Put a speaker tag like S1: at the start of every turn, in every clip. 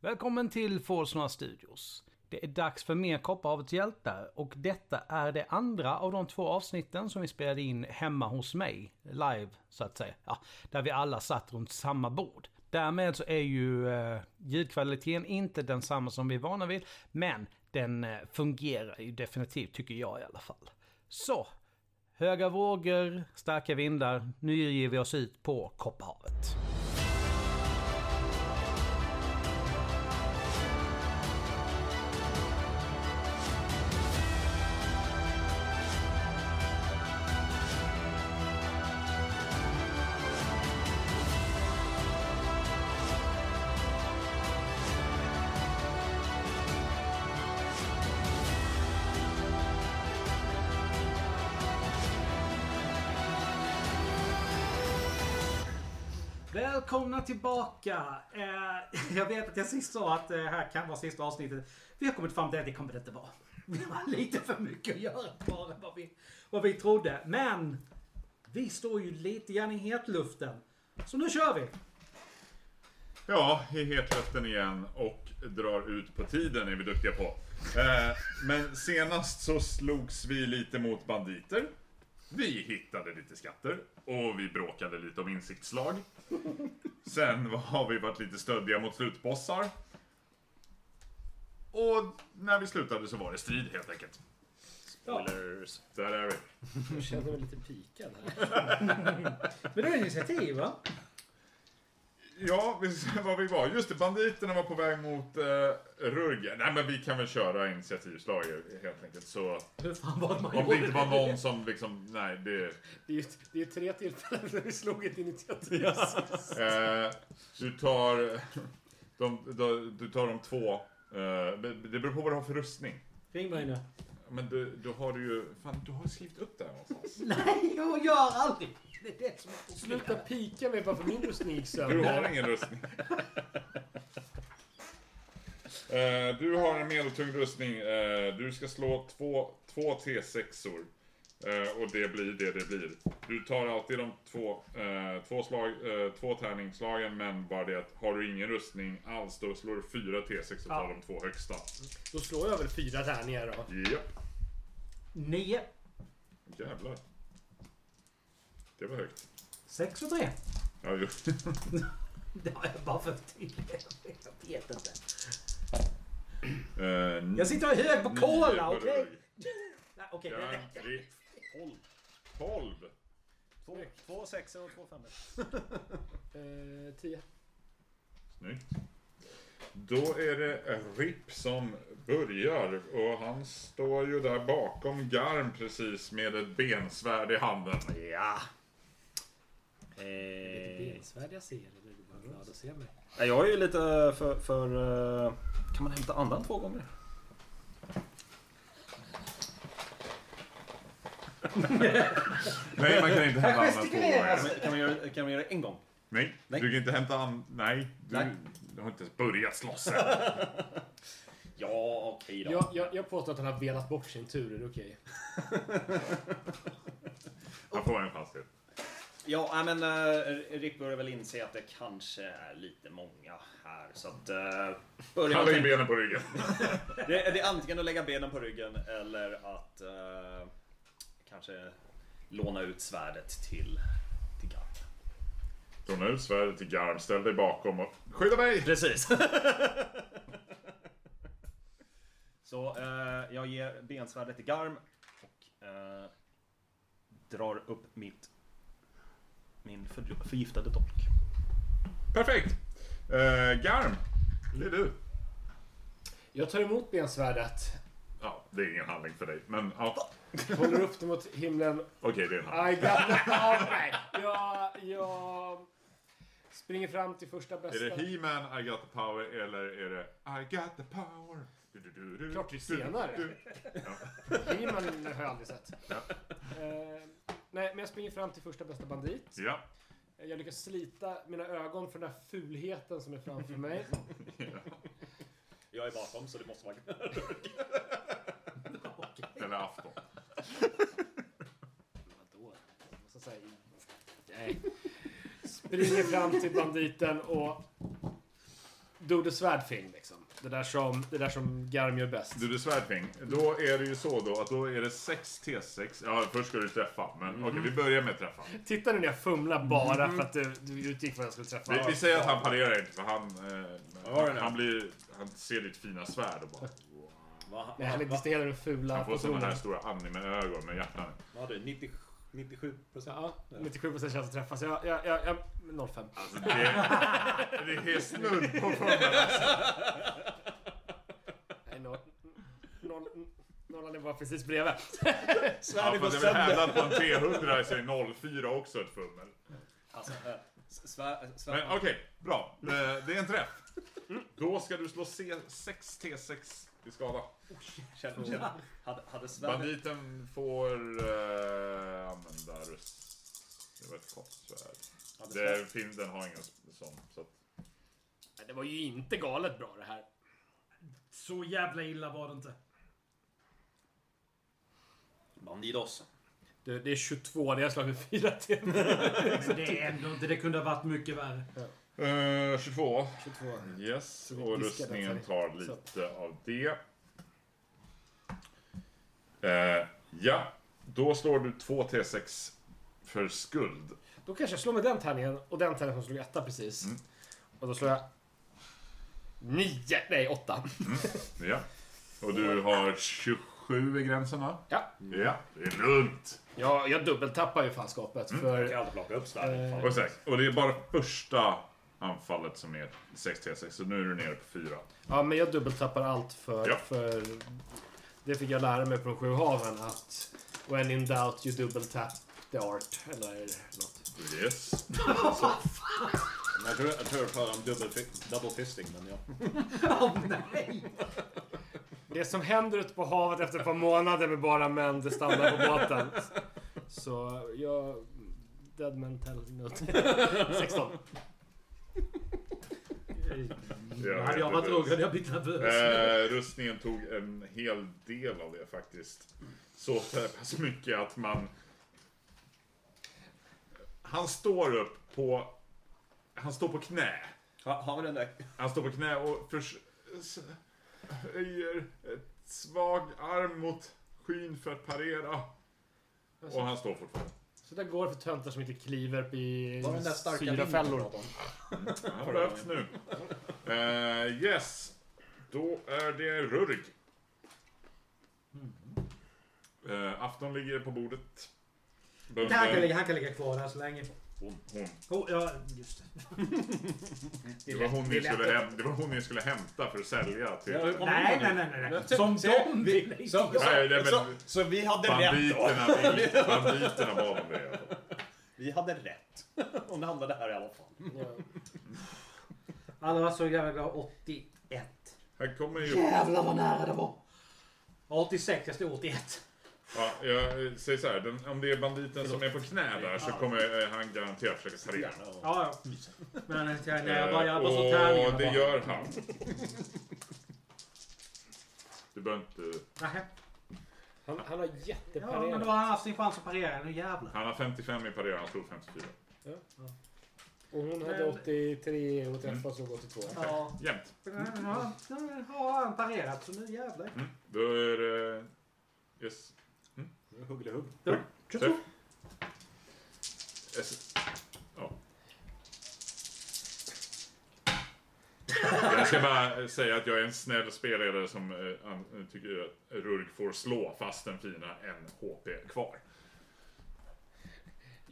S1: Välkommen till Forsnora Studios. Det är dags för mer Kopparhavets hjältar och detta är det andra av de två avsnitten som vi spelade in hemma hos mig. Live, så att säga. Ja, där vi alla satt runt samma bord. Därmed så är ju eh, ljudkvaliteten inte densamma som vi är vana vid, men den eh, fungerar ju definitivt, tycker jag i alla fall. Så, höga vågor, starka vindar. Nu ger vi oss ut på Kopparhavet. Välkomna tillbaka! Eh, jag vet att jag sist sa att det här kan vara sista avsnittet. Vi har kommit fram till att det kommer det inte vara. Vi har lite för mycket att göra bara vad vi, vad vi trodde. Men! Vi står ju lite grann i hetluften. Så nu kör vi!
S2: Ja, i hetluften igen och drar ut på tiden är vi duktiga på. Eh, men senast så slogs vi lite mot banditer. Vi hittade lite skatter och vi bråkade lite om insiktsslag. Sen har vi varit lite stöddiga mot slutbossar. Och när vi slutade så var det strid helt enkelt.
S3: Spoilers.
S2: Där är vi.
S4: Jag känner mig lite pikad här.
S1: Men det är initiativ va?
S2: Ja, vi ska se var vi var. Just det, banditerna var på väg mot eh, Rurgen. Nej men vi kan väl köra initiativslag helt enkelt. Så
S1: Hur fan var det man
S2: Om det inte var någon som liksom, nej det...
S4: Det är, ju- det är tre tillfällen när vi slog ett initiativ.
S2: Eh, du tar... De, de, du tar de två. Eh, det det beror på vad du har för rustning.
S1: Ring mig nu.
S2: Men du, du har du ju... Fan, du har ju skrivit upp det här någonstans.
S1: Nej, jag gör aldrig! Det är det som är
S4: Sluta pika mig bara för min rustning gick
S2: Du har
S4: sönder.
S2: ingen rustning. Eh, du har en medeltung rustning. Eh, du ska slå två, två T6-or. Eh, och det blir det det blir. Du tar alltid de två, eh, två, slag, eh, två tärningsslagen, men bara det att har du ingen rustning alls, då slår du fyra T6 och tar de två högsta.
S4: Då slår jag väl fyra tärningar då.
S2: Japp,
S1: Nio,
S2: jävlar. Det var högt.
S1: sex och tre.
S2: Ja, jo.
S1: Det har jag bara för att tydliga. Jag vet inte.
S2: Eh,
S1: Jag sitter och är hög på cola,
S2: nio
S1: okej?
S2: berög.
S1: Nej, Okej, det
S2: Ja,
S1: räcker.
S2: tre. Tolv.
S3: Två, två sexor och två femmor.
S4: Eh, tio.
S2: Snyggt. Då är det RIP som börjar och han står ju där bakom Garm precis med ett bensvärd i handen.
S3: Ja.
S4: Lite
S3: Eh,
S4: bensvärd jag ser. Eller du bara glad att se mig.
S3: jag är ju lite för... för eh, kan man hämta andan två gånger?
S2: Nej, man kan inte hämta
S1: Jag
S2: andan två gånger.
S3: Kan man göra, kan man göra det en gång?
S2: Nej,
S3: Nej.
S2: du kan inte hämta andan... Nej, du,
S3: Nej.
S2: du har inte ens börjat slåss än.
S3: Ja, okej då.
S4: Jag, jag, jag påstår att han har velat bort sin tur. Är det okej?
S2: Han får en chans till.
S3: Ja, nej, men eh, Rick börjar väl inse att det kanske är lite många här. Så att... eh, börjar
S2: Han
S3: jag
S2: lägger
S3: tänka-
S2: benen på ryggen.
S3: det, är- det är antingen att lägga benen på ryggen eller att eh, kanske låna ut svärdet till, till Garp.
S2: Dona ut svärdet till Garm, ställ dig bakom och... Skydda mig!
S3: Precis. Så eh, jag ger bensvärdet till Garm och eh, drar upp mitt min för, förgiftade dolk.
S2: Perfekt! Eh, Garm, det är du.
S4: Jag tar emot bensvärdet.
S2: Ja, det är ingen handling för dig, men ja.
S4: Håller upp det mot himlen.
S2: Okej, det är en handling.
S4: I got the right. Jag, jag springer fram till första
S2: Är
S4: bästa.
S2: det He-Man, I got the power eller är det I got the power? Du, du, du, du,
S4: Klart det är
S2: du, du,
S4: senare.
S2: du.
S4: He-Man har jag aldrig sett.
S2: Ja.
S4: Eh, nej, men jag springer fram till första bästa bandit.
S2: Ja,
S4: Jag lyckas slita mina ögon från den här fulheten som är framför mig.
S3: Jag är bakom så det måste vara
S2: eller afton.
S4: Vadå? Och så säger jag- Nej. Springer fram till banditen och Do the Svärdfing liksom. Det där som, det där som Garm gör bäst.
S2: Du, det är Svärdfing. Då är det ju så då att då är det 6 T6. Ja, först ska du träffa. Men
S4: Mhm.
S2: okej, vi börjar med träffa.
S4: Titta nu när jag fumlar bara
S2: Mm.
S4: för att du, du utgick från att jag skulle träffa.
S2: Vi, vi säger att han parerar inte för han...
S3: var det
S2: Eh,
S3: nu?
S2: han, blir, han ser ditt fina svärd och bara... wow.
S3: Vad
S4: Nej, heller inte hela den fula
S2: Han får sådana här
S4: positionen.
S2: stora anime-ögon med hjärtan.
S3: vad hade du? 90 97 procent?
S4: Ja, 97 procent chans att träffa. Så jag, jag, jag, jag 05.
S2: Alltså, det, det är snudd på fummel.
S4: Nej, noll. Noll- Nollan är bara precis bredvid.
S2: Ja,
S3: Svärdet går
S2: fast jag vill hävda
S3: sönder!
S2: att på en T100 så är 04 också ett fummel.
S3: Alltså, eh, s- svär, svär,
S2: Men okej, bra. Eh, Det är en träff. Då ska du slå C- 6 T6 i skada.
S1: Oh,
S3: känner, känner. Hade, hade svärdet...
S2: Banditen får eh, använda rust. Det var ett kort svärd.
S3: Hade svärdet
S2: Det fin- den har ingen sån. Så att,
S4: Nej, Det var ju inte galet bra det här.
S1: Så jävla illa var det inte.
S3: Bandidos.
S4: Du, det är 22, det har jag slagit 4 till.
S1: Men det är ändå inte. Det kunde ha varit mycket värre.
S2: Eh, 22.
S4: 22.
S2: Yes,
S4: vi
S2: och
S4: diskar den
S2: rustningen tar
S4: så.
S2: lite av det. Eh, ja, då slår du 2 T6 för skuld.
S4: Då kanske jag slår med den tärningen och den tärningen som slog etta precis. Och då slår jag... 9! Nej, 8.
S2: Ja. Och du har 27 i gränsen va?
S4: Ja.
S2: Ja, det är lugnt.
S4: Jag, jag dubbeltappar ju fanskapet för...
S3: Jag kan alltid plocka upp svärdet.
S2: Och, så här, och det är bara första anfallet som är 6 T6, så nu är du nere på 4.
S4: Ja, men jag dubbeltappar allt för,
S2: Ja.
S4: för... Det fick jag lära mig på de sju haven att... When in doubt you double-tap the art. Eller något.
S2: Yes.
S1: Mm.
S3: Men Jag tror jag tror jag hörde om dubbel fi- double fisting, men ja.
S1: Åh nej!
S4: Det som händer ute på havet efter ett par månader med bara män, det stannar på båten. Så jag... Dead man tell note. 16.
S2: Jag
S1: Hade jag
S2: vet
S1: varit
S2: inte.
S1: Roger hade jag blivit nervös.
S2: Eh, rustningen tog en hel del av det faktiskt. Så pass mycket att man... Han står upp på... Han står på knä.
S3: Ha- Har vi den där?
S2: Han står på knä och förs- s- höjer ett svag arm mot skyn för att parera. Och han står fortfarande.
S4: Så där går det för töntar som inte kliver i
S3: Var den där starka
S4: syrafällor.
S2: Han har behövts nu. Eh, yes. Då är det Rurik. Eh, afton ligger på bordet.
S1: Det här kan ligga, han kan ligga kvar här så länge.
S2: Hon, hon.
S1: Oh, ja, just det.
S2: Det, var hon ni skulle häm- det var hon ni skulle hämta för att sälja till
S3: Ja, hur kom-
S1: Nej, nej, nej, nej, nej. Som
S3: Se,
S1: de
S3: vi-
S1: vill.
S3: Så,
S2: Nej, nej, men-
S3: så, så, så vi hade rätt då.
S2: banditerna. vill- banditerna bad om det.
S3: Vi hade rätt. Om det handlade här i alla fall.
S1: Alla var så jävla glada. 81.
S2: Här kommer ju...
S1: Jävlar vad nära det var. 86, jag stod 81.
S2: Ja, jag eh, säger så här, den, om det är banditen som är på knä där så kommer eh, han garanterat försöka parera.
S1: Ja, ja. Men eh, jag tänkte, nej, jag bara, jag bara slår
S2: Eh,
S1: tärningarna
S2: och det
S1: bara.
S2: gör han. Du behöver inte...
S1: Nähä.
S4: Han, han har
S1: Ja, men då
S4: jätteparerat.
S1: har han haft sin chans att parera. Nu jävlar.
S2: Han har 55 i parera, han slog 54.
S4: Och hon hade 83 och träffade slog 82.
S1: Ja. Mm.
S2: Jämnt.
S1: Nu har- nu har han parerat, så nu jävlar.
S2: Mm. Då är det... Yes.
S3: Nu hugg det hugg.
S2: Träff. Yes. Ja. Jag ska bara eh, säga att jag är en snäll spelledare som eh, an- tycker att Rurg får slå fast den fina en HP kvar.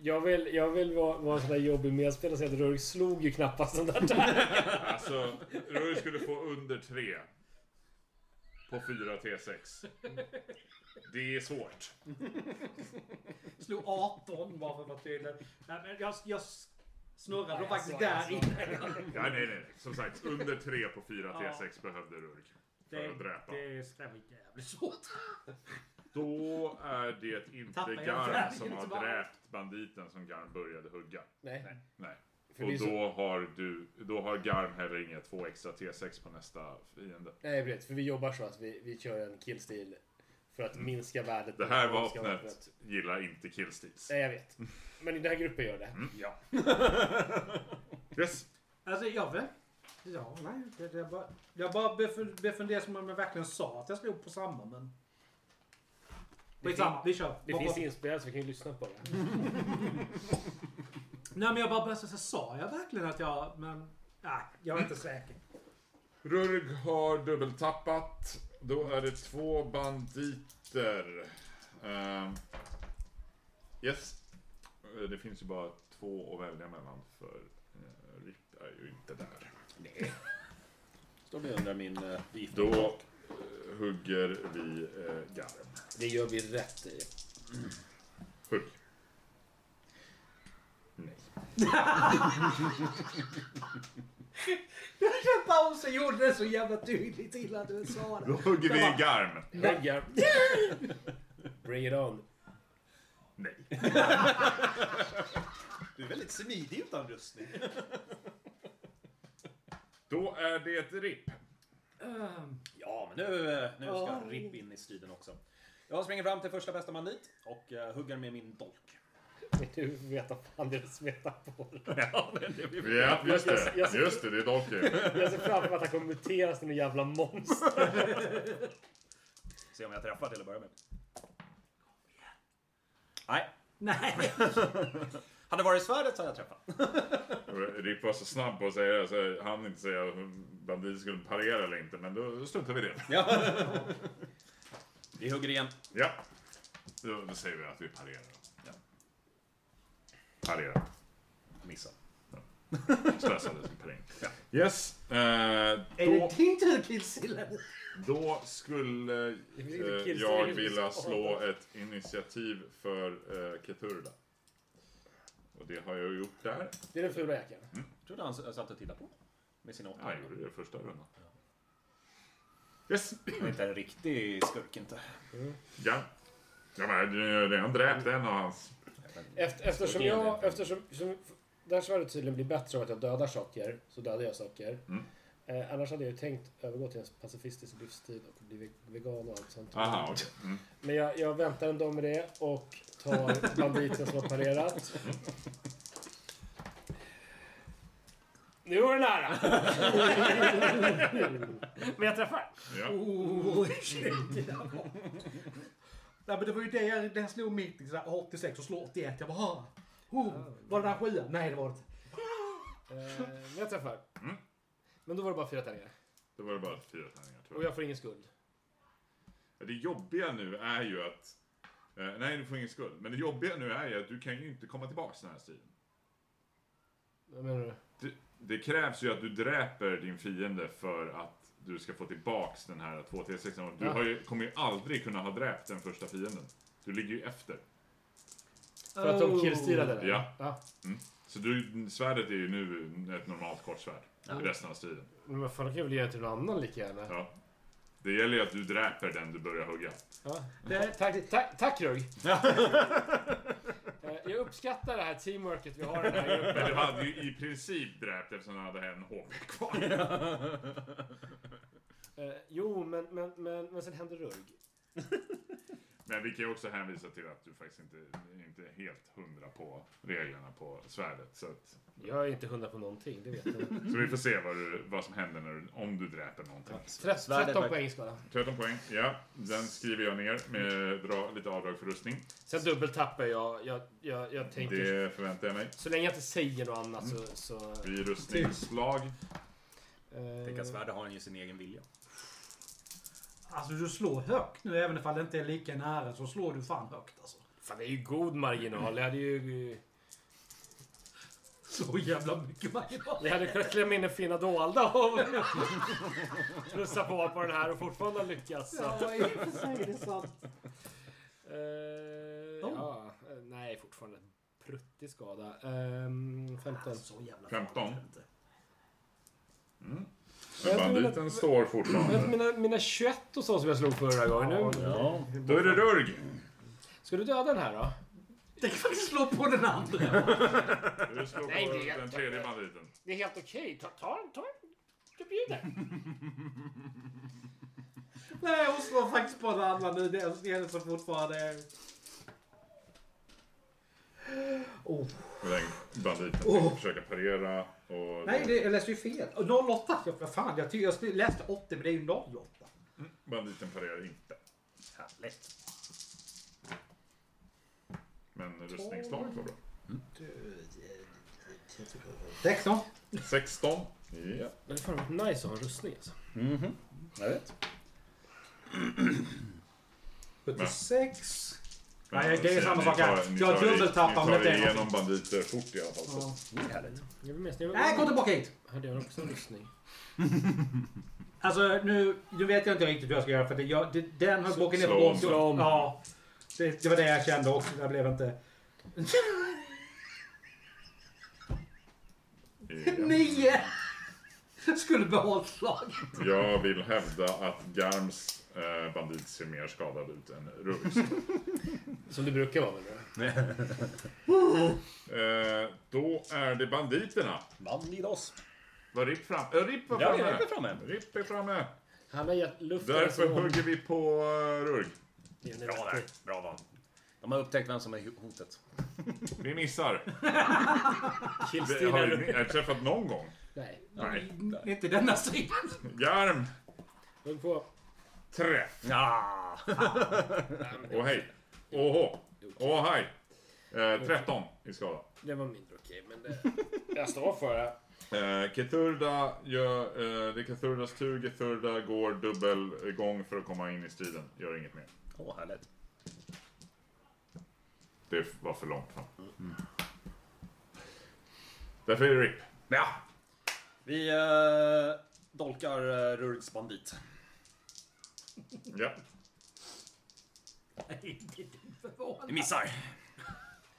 S4: Jag vill, jag vill vara, vara en sån där jobbig medspelare och säga att Rurik slog ju knappast den där.
S2: Alltså, Rurg skulle få under tre på 4 T6. Det är svårt.
S1: Slog 18 bara för att vara tydlig. Nej, men jag, jag snurrade
S4: jag
S1: faktiskt
S4: såg, jag
S1: där
S4: såg.
S1: inne.
S2: Ja, nej, nej, nej. Som sagt, under tre på 4 T6 behövde Rurg för att
S1: Det,
S2: dräpa.
S1: det ska vara jävligt svårt.
S2: Då är det
S1: Tappar
S2: inte
S1: jag
S2: Garn
S1: tärningen
S2: som har
S1: till varandra?
S2: dräpt banditen som Garn började hugga.
S4: Nej.
S2: Nej.
S4: För det är
S2: Och
S4: så-
S2: då har, du, då har Garm heller inga två extra T6 på nästa fiende.
S4: Nej, precis. För vi jobbar så att vi, vi kör en killstil för att minska värdet.
S2: Det här
S4: på minska
S2: vapnet gillar inte killsteals.
S4: Nej, jag vet.
S2: Mm.
S3: Mm.
S4: Men i den här gruppen gör det.
S2: Yes.
S1: Alltså jag vet Ja, nej. Det, det är bara, jag bara bef- blev fundersam om jag verkligen sa att jag slog på samma, men...
S4: Det
S1: Skitsamma,
S4: fin-
S1: vi kör.
S4: Det
S1: Bara-
S4: finns inspelat så vi kan ju lyssna på det.
S1: Nej, men jag bara började säga, sa jag verkligen att jag... Men... Nej, jag är inte säker.
S2: Rurg har dubbeltappat. Då är det två banditer. Ehm, yes. Eh, Det finns ju bara två att välja mellan för eh, Rip är ju inte där.
S3: Står du under min uh,
S2: Då eh, hugger vi eh, Garm.
S5: Det gör vi rätt i.
S2: Hugg. Nej.
S1: Den pausen gjorde det så jävla tydligt till att du
S2: Då
S1: svarade.
S2: hugger vi Garm.
S4: Ryggar. Bring it on.
S2: Nej.
S3: Du är väldigt smidig utan rustning.
S2: Då är det Rip.
S1: Ehm,
S3: Ja, men nu, eh, nu ska
S1: Ja.
S3: Ripp in i striden också. Jag springer fram till första bästa bandit och eh, hugger med min dolk.
S4: Du vet vad fan det är du smetar på.
S2: Ja, just det. Just det, det är Dolky.
S4: Jag ser framför mig att han kommer muteras till en jävla monster.
S3: Se om jag träffar till att börja med. Nej,
S1: nej.
S3: hade det varit svärdet så hade jag träffat.
S2: Rip var så snabb på att säga det så han inte säga om bandit skulle parera eller inte, men då struntar vi i det.
S3: Ja. Vi hugger igen.
S2: Ja. Då, då säger vi att vi parerar.
S3: Ja.
S2: Parera.
S3: Missar.
S2: Slösade sin parering. Yes. Eh,
S1: Är det
S2: då,
S1: din tur Killsilla?
S2: då skulle eh, jag vilja slå ett initiativ för eh, Keturda. Och det har jag gjort där.
S4: Det är den fula jäkeln.
S3: Trodde han s- satt och tittade på. Med sina åtta.
S2: Ja, jag gjorde det i första rundan. Yes.
S3: Det är inte en riktig skurk inte.
S2: Ja. Ja, men jag har ju redan dräpt en av hans.
S4: Efter, eftersom jag... Eftersom, som, där svärdet tydligen blir bättre av att jag dödar saker, så dödar jag saker.
S2: Mm.
S4: Eh, annars hade jag ju tänkt övergå till en pacifistisk livsstil och bli ve- vegan och allt sånt.
S2: Aha, okej. Mm.
S4: Men jag, jag väntar ändå med det och tar banditen som har parerat. Nu var det nära! Men jag träffar.
S2: Ja.
S1: Oh, shit. Nej, men det var ju det jag, det jag slog mitt i. så här, 86 och slår 81. Jag bara... ah, Oh, var det där sjuan? Nej, det var det inte.
S4: Eh, Men jag träffar.
S2: Mm.
S4: Men då var det bara fyra tärningar.
S2: Då var det bara fyra tärningar tror
S4: Och jag får ingen skuld.
S2: Ja, Det jobbiga nu är ju att... eh, Nej, du får ingen skuld. Men det jobbiga nu är ju att du kan ju inte komma tillbaks den här striden.
S4: Vad menar du?
S2: Det, det krävs ju att du dräper din fiende för att du ska få tillbaks den här 2 t 6 Du
S4: Ja.
S2: har ju, kommer ju aldrig kunna ha dräpt den första fienden. Du ligger ju efter.
S4: För att de killstilade det?
S2: Ja. Så du, svärdet är ju nu ett normalt kort svärd. I resten av striden.
S4: Men vad fan, då kan jag väl ge det till någon annan lika gärna?
S2: Ja. Det gäller ju att du dräper den du börjar hugga.
S4: Ja.
S1: Det-
S4: Tack, tack, tack Rugg! Eh, jag uppskattar det här teamworket vi har i den här gruppen.
S2: Men du hade ju i princip dräpt eftersom du hade en HP kvar.
S4: Eh, jo, men, men, men, men sen händer Rugg.
S2: Men vi kan ju också hänvisa till att du faktiskt inte, inte är helt hundra på reglerna på svärdet. Så, att,
S4: Jag är inte hundra på någonting, det vet jag.
S2: så vi får se vad, du, vad som händer när du, om du dräper någonting.
S4: Trett-
S3: Svärdet
S4: 13
S3: verkar-
S4: poäng ska jag ha.
S2: 13 poäng, ja. Den skriver jag ner med dra, lite avdrag för rustning.
S4: Sen dubbeltappar jag. Jag, jag, jag tänker...
S2: Det förväntar jag mig.
S4: Så länge jag inte säger något annat så... så
S2: Vid rustningsslag.
S1: Typ.
S4: eh,
S3: Tänk att svärdet har han ju sin egen vilja.
S1: Alltså du slår högt nu även ifall det inte är lika nära så slår du fan högt alltså.
S4: Fan, det är ju god marginal. Jag hade ju...
S1: Så jävla mycket marginal.
S4: Jag hade kunnat klämma in en fina dolda och plussa på på den här och fortfarande lyckas. Så. att-
S1: i och för sig det är sant.
S4: Eh, ja, eh, nej, fortfarande en pruttig skada. Ehm, 15.
S1: Så jävla
S2: 15.
S1: fan inte.
S2: Men banditen står
S4: Men
S2: fortfarande.
S4: mina, mina 21 och så som jag slog förra gången. Nu,
S3: Ja.
S2: Då är det Rurg!
S4: ska du döda den här då?
S1: Tänk ifall du slår på den andra.
S2: Du slår
S4: Nej, det
S2: på
S4: är
S2: den tredje banditen.
S4: Det är helt okej. Ta, ta den, ta den. Du bjuder.
S1: Nej hon slår faktiskt på den andra nu. Det är en som fortfarande är... Oh.
S2: Och Den banditen tänker försöka parera Och
S1: Nej, det, jag läste ju fel. Och 08, jag, vad fan, jag, ty- jag läste 80 men det är ju 08.
S2: banditen parerar inte.
S1: Härligt.
S2: Men rustningsslaget var bra.
S1: 16.
S2: 16. Ja.
S4: Det hade fan varit nice att ha en rustning alltså.
S3: Jag vet.
S1: 76.
S2: Men
S1: Nej, det är
S2: sen,
S1: samma
S2: ni
S1: sak här.
S2: tar- ni
S1: Jag
S2: tar er-
S1: dubbeltappar om
S2: Ni tar
S1: detta är
S2: er igenom banditer fort i alla fall. Så.
S3: Det är härligt.
S4: Jag vill minnas, jag vill
S1: Nej, gå tillbaka hit.
S4: Hade jag också en rustning?
S1: Alltså nu, nu vet jag inte riktigt hur jag ska göra för det, jag, det, den höll boken ner på
S2: slå om.
S1: golvet.
S4: Slå om.
S1: Ja, det, det var det jag kände också. Det blev inte...
S2: Ja.
S1: Nio! Skulle behållit slaget.
S2: Jag vill hävda att Garms eh, bandit ser mer skadad ut än Rugs.
S4: Som det brukar vara väl? eller?
S2: Eh, då är det banditerna.
S3: Vann vid oss.
S2: Var Ripp fram? Äh, Ripp var
S3: Ja,
S2: framme.
S3: Ripp är framme.
S2: Ripp är framme.
S4: Han har gett luften
S2: Därför
S4: som-
S2: hugger vi på eh, Rurg.
S4: Det är
S3: Bra där.
S4: vettigt.
S3: Bra val. De har upptäckt vem som är hotet.
S2: Vi missar. Vi
S4: Killstil
S2: har ju
S4: eller?
S2: ni- jag träffat någon gång.
S4: Nej.
S2: Nej.
S1: Inte denna sidan.
S2: Garm.
S4: Hugg på.
S2: Träff.
S3: Ja.
S2: Och hej. Åhå. Åh hej. Eh, 13 i skada.
S4: Det var mindre okej, men det... Jag står för det.
S2: Eh, Keturda gör, eh, det är Keturdas tur. Keturda går dubbelgång för att komma in i striden. Gör inget mer.
S3: Åh, härligt.
S2: Det var för långt fram. Därför är det RIP.
S3: Ja. Vi eh, dolkar eh, Rurgs bandit.
S2: Ja.
S1: Jag är inte
S3: Vi
S1: förvånad.
S3: missar.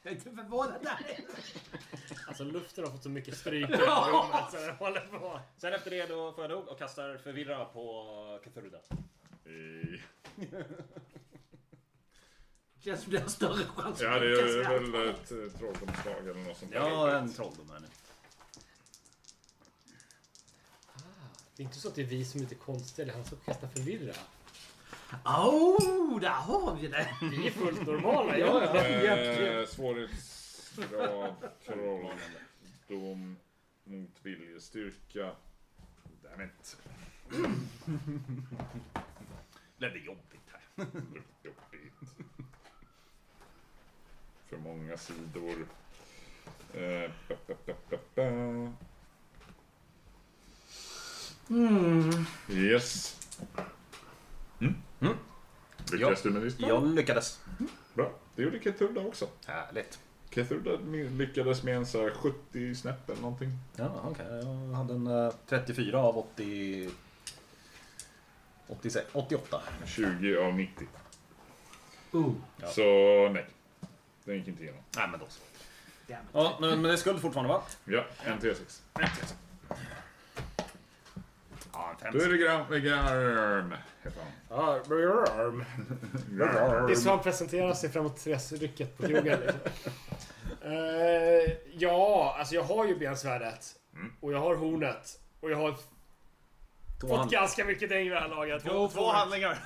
S1: Jag är inte förvånad där.
S4: Alltså luften har fått så mycket stryk i det här
S3: alltså,
S4: rummet så det håller på.
S3: Sen efter det då får jag nog och kastar förvirra på Cthulhu.
S2: I-
S1: Känns som det är en större chans.
S2: Ja, det är väl ett eh, trolldomsslag eller något sånt Eh,
S3: Ja, en trolldom här nu.
S4: Det är inte så att det är vi som inte är konstiga, det är han som kastar förvirra.
S1: Oh, där har vi det.
S4: Vi är fullt normala, ja.
S1: Ja,
S4: ja.
S2: Eh, svårighetsgrad trolldom mot viljestyrka. Damn it.
S3: Blev det jobbigt här?
S2: Jobbigt. För många sidor. Eh, ba, ba, ba, ba, ba. Yes.
S3: Mm.
S2: Lyckades du med listan?
S3: Jag lyckades.
S2: Bra. Det gjorde Keturda också.
S3: Härligt.
S2: Keturda lyckades med en så här 70 snäpp eller någonting.
S3: Ja, okej. Jag hade en eh, 34 av 80... 86, 88.
S2: 20 av 90.
S1: Oh,
S3: Ja.
S2: Så nej. Den gick inte igenom.
S3: Nej, men då så.
S1: damn it.
S3: Ja, men men det är skuld fortfarande va?
S2: Ja, en 3-6.
S3: Ja, en fem.
S2: Då är det Gram... Garm. Heter han.
S4: arm. Det är så
S2: Garm.
S4: han presenterar sig framåt rycket på krogen. Liksom. Eh, ja, alltså jag har ju bensvärdet. Och jag har hornet. Och jag har
S3: Två
S4: fått
S3: hand-
S4: ganska mycket däng vid det här laget.
S3: Två, två handlingar.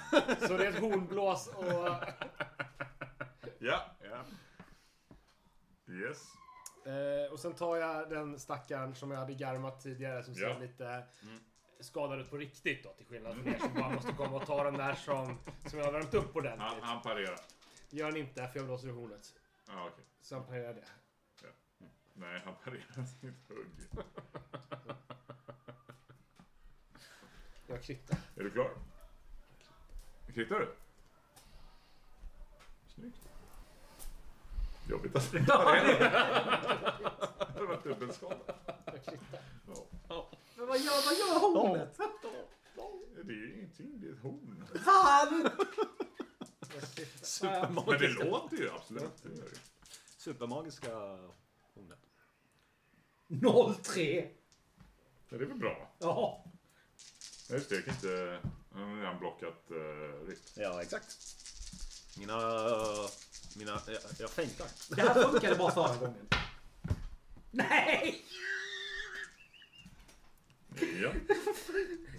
S4: Så det är ett hornblås och...
S2: Ja, ja. Yes.
S4: Eh, och sen tar jag den stackaren som jag hade garmat tidigare som ser
S2: Ja.
S4: lite skadad ut på riktigt då till skillnad från er som bara måste komma och ta den där som, som jag har värmt upp
S2: Han,
S4: ordentligt.
S2: han parerar.
S4: Gör han inte för jag blåser i hornet.
S2: Ja, okej.
S4: Så han parerar det.
S2: Nej, han parerar sitt hugg.
S4: Jag kryttar.
S2: Är du klar? Kritar du? Snyggt. Jobbigt att det parerar. Det har varit dubbelskada.
S4: Jag kryttar.
S2: Ja.
S1: Men vad gör, vad gör hornet?
S2: Det är ju ingenting, det är ett horn.
S1: Fan!
S4: Jag kryttar.
S2: Men det
S3: Supermagiska.
S2: låter ju absolut. Det gör det.
S3: Supermagiska hornet.
S1: 03.
S2: Men det är väl bra.
S1: Ja.
S2: Nej, just det. Jag kan inte... Han har redan blockat uh, Ritt.
S3: Ja, exakt. Mina... Mina... Jag, jag fänkar.
S1: Det här funkade bara förra gången. Nej!
S2: Ja.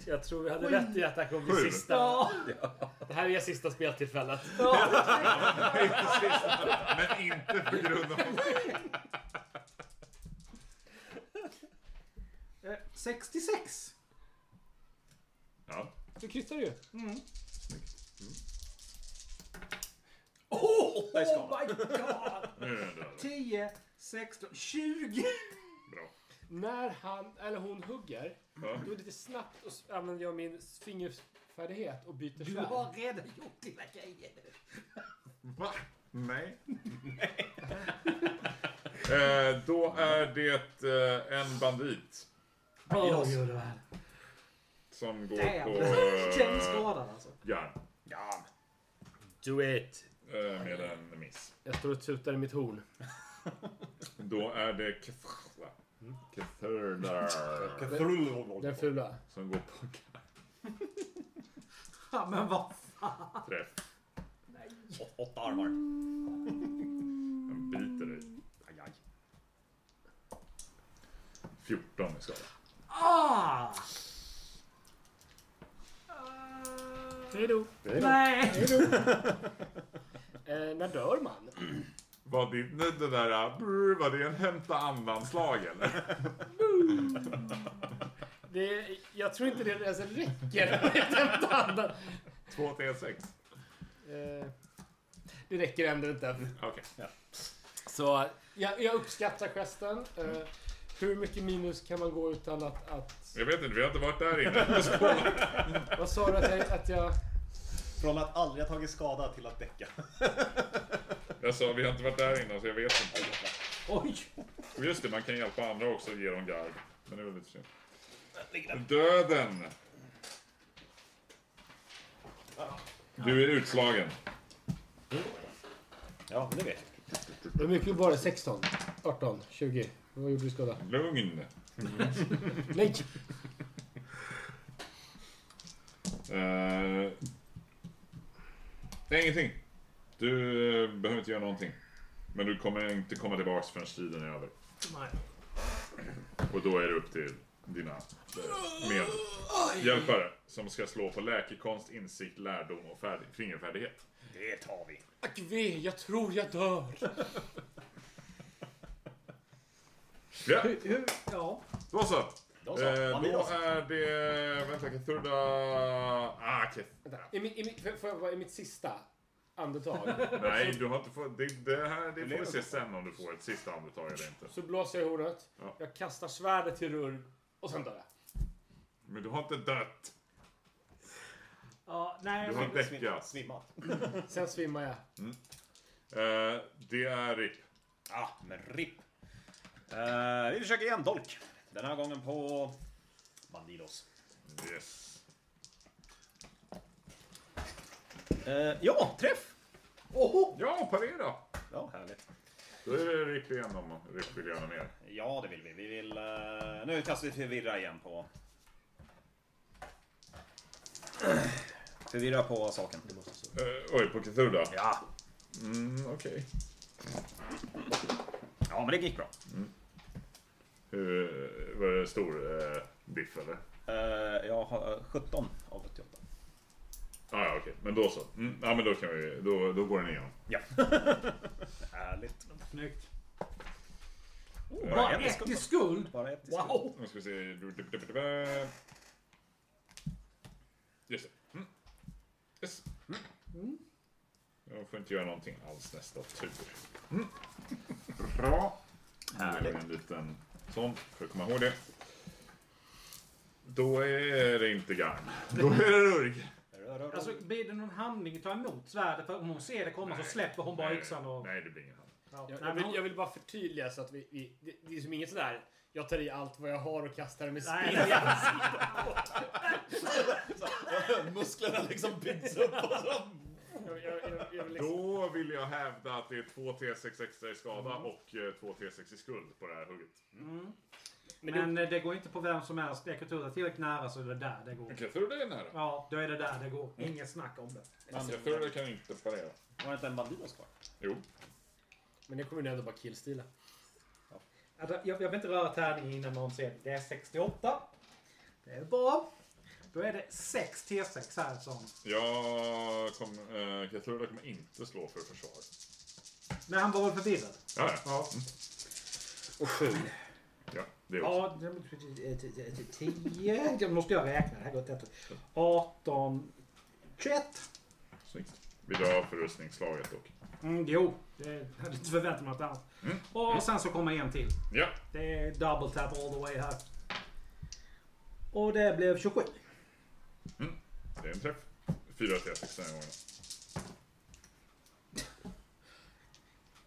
S4: Jag tror vi hade rätt i att det här kommer bli
S2: Sju.
S4: sista.
S1: Ja.
S4: Det här är sista speltillfället.
S2: Men inte på grund av...
S1: 66.
S2: Ja.
S4: Du kryssar ju.
S1: Oh,
S3: Åtta i skala.
S1: oh my god!
S2: Nu är den död.
S1: 10, 16, 20.
S2: Bra.
S4: När han eller hon hugger,
S2: Ja.
S4: då är det lite snabbt och s- använder jag min fingerfärdighet och byter
S1: Du
S4: svärd.
S1: har redan gjort dina grejer.
S2: Va? Nej. eh, då är det eh, en bandit
S1: Jag gör det här.
S2: som går
S1: Damn.
S2: på
S1: Den
S2: eh,
S1: skadan alltså.
S2: järn
S4: Do it!
S2: eh, med en miss.
S4: Jag står och tutar i mitt horn.
S2: Då är det Kefrla. Kefrla.
S4: Den fula.
S2: Som går på
S1: Ja, men vad
S2: träff.
S3: Åt- Åtta armar.
S2: Den biter dig.
S3: Aj, aj.
S2: 14 i skada.
S1: Ah!
S4: Hejdå!
S1: Nej!
S4: Eh, när dör man?
S2: Var det, nu det där, äh, brr, var det en hämta andan-slag eller?
S4: Det, jag tror inte det ens räcker. Jag hämtar andan.
S2: 2 T6.
S4: Eh, det räcker ändå inte.
S2: Okej.
S4: Så jag, jag uppskattar gesten. Eh, hur mycket minus kan man gå utan att... att
S2: Jag vet inte, vi har inte varit där inne.
S4: vad sa du att jag... Att jag
S3: Från att aldrig ha tagit skada till att däcka.
S2: Jag sa, vi har inte varit där inne så jag vet inte.
S1: Oj!
S2: Och Just det, man kan hjälpa andra också och ge dem gard. Men det är väl lite sent. Döden! Du är utslagen.
S3: Ja, men det vet jag.
S4: hur mycket var det? 16? 18? 20? Vad gjorde du i skada?
S2: Lugn.
S4: Nej!
S2: Eh, det är ingenting. Du eh, behöver inte göra någonting. Men du kommer inte komma tillbaks förrän striden är över.
S1: Nej.
S2: Och då är det upp till dina eh, medhjälpare som ska slå på läkekonst, insikt, lärdom och färd- fingerfärdighet.
S3: Det tar vi.
S4: Ack ve, jag tror jag dör!
S2: Ja,
S1: Hur, hur, ja.
S2: då så.
S3: Då så.
S2: Eh,
S3: Ja, vi
S2: då
S3: då så.
S2: är det... Vänta, Kethurda... Ah, Keth...
S4: Vänta, i, mi- i, mi- får- får jag vara i mitt sista andetag
S2: Nej, du har inte fått... Det, det här det får
S3: lever
S2: vi se sen om du får ett sista andetag eller inte.
S4: så blåser jag i hornet.
S2: Ja.
S4: Jag kastar svärdet till Rurv och sen dör jag.
S2: Men du har inte dött.
S1: ja nej,
S2: Du har
S1: men,
S2: däckat.
S3: Svimmat.
S4: Sen svimmar jag.
S2: Eh, det är RIP.
S3: Ah, men RIP. Eh, vi försöker igen, Dolk. Den här gången på Bandidos.
S2: Yes.
S3: Eh, ja, träff! Oho!
S2: Ja, parera!
S3: Ja, härligt.
S2: Då är det RIP igen om RIP vill göra mer.
S3: Ja, det vill vi. Vi vill... eh, nu kastar vi förvirra igen på... Förvirra på saken.
S2: Eh, oj, på Kethurda?
S3: Ja,
S2: Mm, okej.
S3: ja men det gick bra.
S2: Hur, var det stor eh, biff eller?
S3: Eh, jag har eh, 17 av 88.
S2: Ah, ja, okej. Men då så. Mm, ja, men då kan vi... Då, då går den igenom.
S3: Ja. Härligt.
S1: snyggt.
S3: Oh,
S1: Bara
S3: en i
S1: ett i
S3: skuld.
S1: skuld?
S3: Bara ett i skuld.
S1: Wow!
S2: Nu ska vi se. Just det. Mm. Yes. Mm. Jag får inte göra någonting alls nästa tur. Mm. Bra. Nu gör vi en liten sån för att komma ihåg det. Då är det inte garn. Då är det rurg.
S1: Alltså, blir det någon handling att ta emot svärdet? För om hon ser det komma så
S2: Nej.
S1: släpper hon bara yxan och...
S2: Nej, det blir ingen hand.
S1: Ja,
S4: Jag,
S1: nej,
S4: jag,
S1: men
S4: vill,
S1: hon-
S4: jag vill bara förtydliga så att vi... vi det, det är som inget sådär... Jag tar i allt vad jag har och kastar det med
S1: Nej,
S4: spel.
S3: Musklerna liksom byggs upp och så.
S4: Jag, jag, jag, jag vill liksom,
S2: Då vill jag hävda att det är 2 T6 extra i
S1: Mm.
S2: skada och eh, 2 T6 i skuld på det här hugget.
S1: Men det, det går inte på vem som helst. Det kan tura tillräckligt nära så är det där det går.
S2: Jag tror det är nära.
S1: Ja, då är det där det går.
S4: Mm.
S1: Inget snack om det.
S2: Jag tror det kan inte parera.
S3: Var det inte en Bandidos kvar?
S2: Jo.
S4: men det kommer ni ändå bara killstila.
S1: Alltså, jag, jag vill inte röra tärningen innan någon ser det. Det är 68. Det är bra. Då är det 6 T6 här som...
S2: Jag kom, eh, jag tror det kommer inte slå för försvar.
S1: Men han var väl förvirrad?
S2: Ja, ja.
S4: Och sju.
S2: Ja, det också.
S1: Ja, det- eh, det- det- det- det- 10. Jag måste jag räkna. Det här går inte. 18. 21.
S2: Snyggt. Vill du ha förrustningsslaget dock?
S1: Mm, jo, det hade inte förväntat mig något annat.
S2: Mm.
S1: Och sen så kommer en till.
S2: Ja,
S1: Det är double tap all the way här. Och det blev 27.
S2: Mm. det är en träff. Fyra till sex den här gången.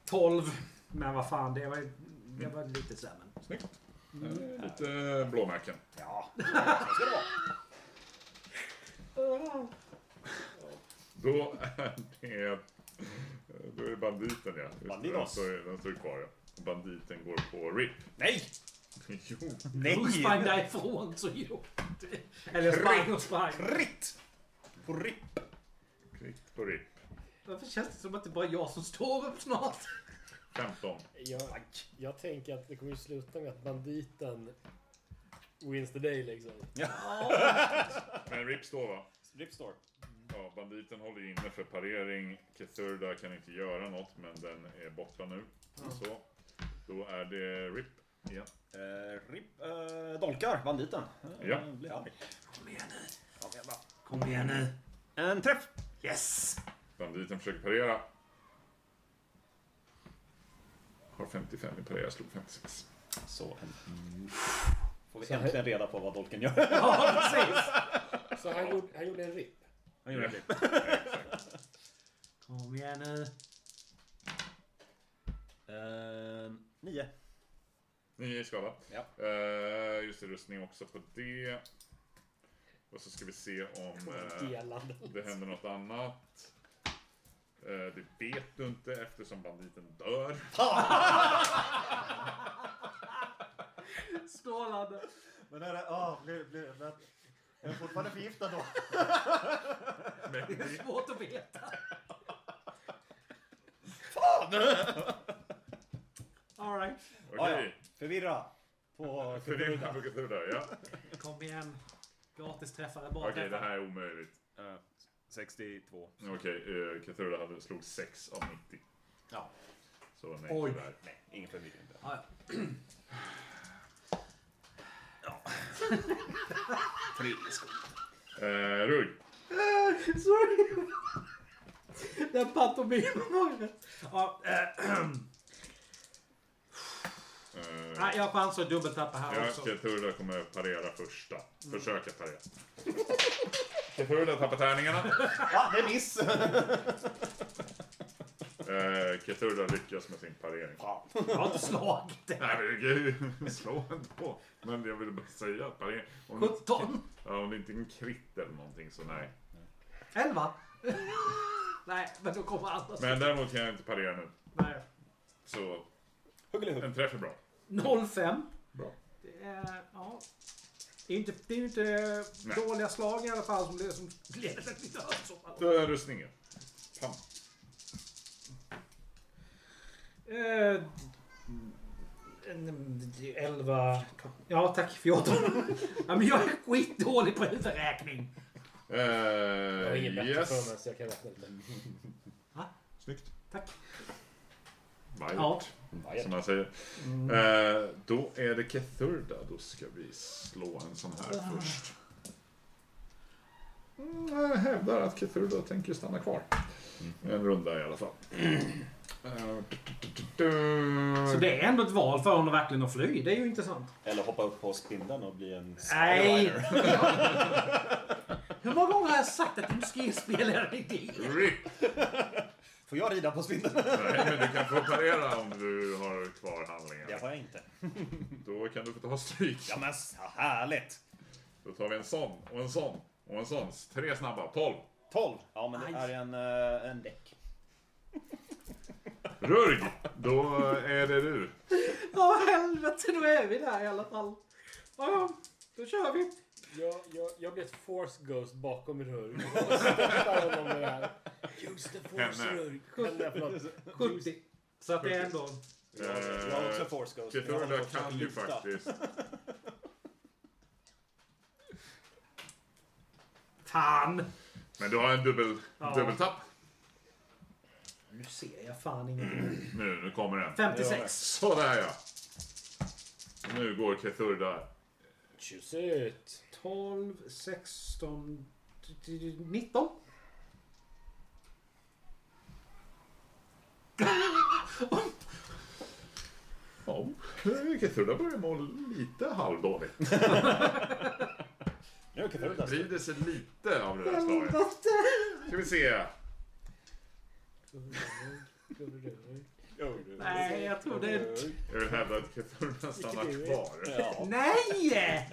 S1: 12. Men vad fan, det var, det var lite sämre.
S2: Snyggt. Eh, Lite blåmärken.
S1: Ja.
S2: Då är det... Då är det banditen ja. Just det, Den
S3: Bandidos.
S2: står, den står kvar ja. Banditen går på RIP.
S3: Nej!
S2: Jo,
S1: Hon
S3: Nej!
S1: sprang därifrån så jo. Eller sprang och sprang.
S3: Ritt! På ripp!
S2: kvitt på RIP.
S1: Varför känns det som att det är bara jag som står upp snart?
S2: 15.
S4: Jag, jag tänker att det kommer ju sluta med att banditen wins the day liksom.
S2: Men RIP står va?
S3: Ripp står.
S2: Ja, banditen håller ju inne för parering. Kethurda kan inte göra något, men den är borta nu. Så. Då är det RIP igen.
S3: Eh, ripp eh, dolkar banditen. Eh,
S2: Ja.
S3: Blir arg. Kom igen nu.
S1: Kom igen nu.
S3: En träff!
S1: Yes!
S2: Banditen försöker parera. Har 55 i parera, slog 56.
S3: Så en... Får vi äntligen reda på vad dolken gör.
S1: Ja, precis.
S4: Så han, gjorde, han gjorde en rip.
S3: Han gör en ripp.
S1: Kom igen nu.
S3: Eh, nio.
S2: 9 i skada.
S3: Ja.
S2: Eh, just det, rustning också på det. Och så ska vi se om eh,
S4: Delad.
S2: det händer något annat. Eh, det vet du inte eftersom banditen dör.
S1: Strålande.
S3: Men är det... Oh, blir, blir, men, är fortfarande förgiftad då?
S1: Det är svårt att veta. Fan! Alright.
S3: Ah,
S2: Okej,
S3: ja. Förvirra. På
S2: för din där, ja.
S1: Kom igen. Gratis träffare bara
S2: Okej, det här är omöjligt.
S3: Eh, 62.
S2: Okej, okay, Kathurda hade slog 6 av 90.
S3: Ja.
S2: Så nej,
S1: Oj.
S2: tyvärr.
S3: Nej, ingen förvirring.
S1: Ja,
S3: Tre.
S2: Eh, Rugg.
S1: ja. Sorry. Den pantomimen var rätt. Ja, äh,
S2: Eh,
S1: Nej, jag har chans att dubbeltappa här
S2: ja,
S1: också.
S2: Kathurda kommer parera första. Försöka parera. Kathurda tappar tärningarna.
S3: Ja, det är miss!
S2: Eh, Kathurda lyckas med sin parering.
S1: Jag har inte slagit det.
S2: Herregud, slå ändå. Men jag ville bara säga att parering... Om,
S1: 17.
S2: ja, om det inte är en kritt eller någonting så nej.
S1: 11. Nej, men då kommer andra.
S2: Men däremot kan jag inte parera nu.
S1: Nej.
S2: Så
S3: Huggelihugg.
S2: en träff är bra.
S1: 05.
S2: Bra.
S1: Det är, ja. Det är ju inte, det är ju inte
S2: Nej.
S1: dåliga slag i alla fall som, det, som leder till död. i så fall.
S2: Då är rustningen. Pam.
S1: Eh, en- 11. Ja, tack. 14. ja, men jag är skitdålig på huvudräkning.
S4: Jag har
S2: Eh,
S4: inget bättre för
S2: yes. Mm.
S4: mig så jag kan räkna lite.
S2: Snyggt.
S1: Tack.
S2: Vajert.
S1: Ja. Mm.
S2: Som man säger. Eh, då är det Kethurda. Då ska vi slå en sån här
S1: Ah.
S2: först. Mm, jag hävdar att Kethurda tänker stanna kvar.
S1: Mm.
S2: En runda i alla fall. Eh,
S1: Så det är ändå ett val för honom verkligen att fly. Det är ju intressant.
S3: Eller hoppa upp på spindeln och bli en
S1: Nej.
S3: skyliner.
S1: Hur många gånger har jag sagt att du ska ge spelaren idé?
S2: RIP!
S3: Får jag rida på spindeln?
S2: Nej, men du kan få parera om du har kvar handlingen.
S3: Det har jag inte.
S2: Då kan du få ta stryk.
S3: Ja men så härligt!
S2: Då tar vi en sån och en sån och en sån. Tre snabba. 12.
S3: 12! Ja men det
S1: Aj.
S3: är en, eh, en däck.
S2: Rurg! Då är det du.
S1: Ja, helvete. Då är vi där i alla fall. Ja, ja, då kör vi.
S4: Jag, jag, jag blir ett force ghost bakom Rurg. Och stöttar honom med det här. Use the
S2: Henne.
S4: Rurg. Henne, förlåt.
S1: 70. Så att det är ändå...
S3: Jag
S5: Eh,
S3: har- jag
S2: Eh,
S3: har också force ghost. Jag håller
S2: Kethurda
S3: på att
S2: kan ju
S3: lyfta.
S2: faktiskt
S1: Fan!
S2: Men du har en dubbel,
S1: Ja.
S2: dubbeltapp.
S1: Nu ser jag fan ingenting.
S2: Nu, nu kommer den.
S1: 56.
S2: Sådär ja. Nu går Kethurda.
S4: Tjus ut.
S1: 12, 16, 19.
S2: Ja, Kethurda börjar må lite halvdåligt.
S3: Nu kan du
S2: Vrider sig lite av det där slaget. Ska vi se.
S1: Nej, jag tror det är...
S2: Jag vill hävda att Kethurda stannar kvar.
S3: Ja.
S1: Nej!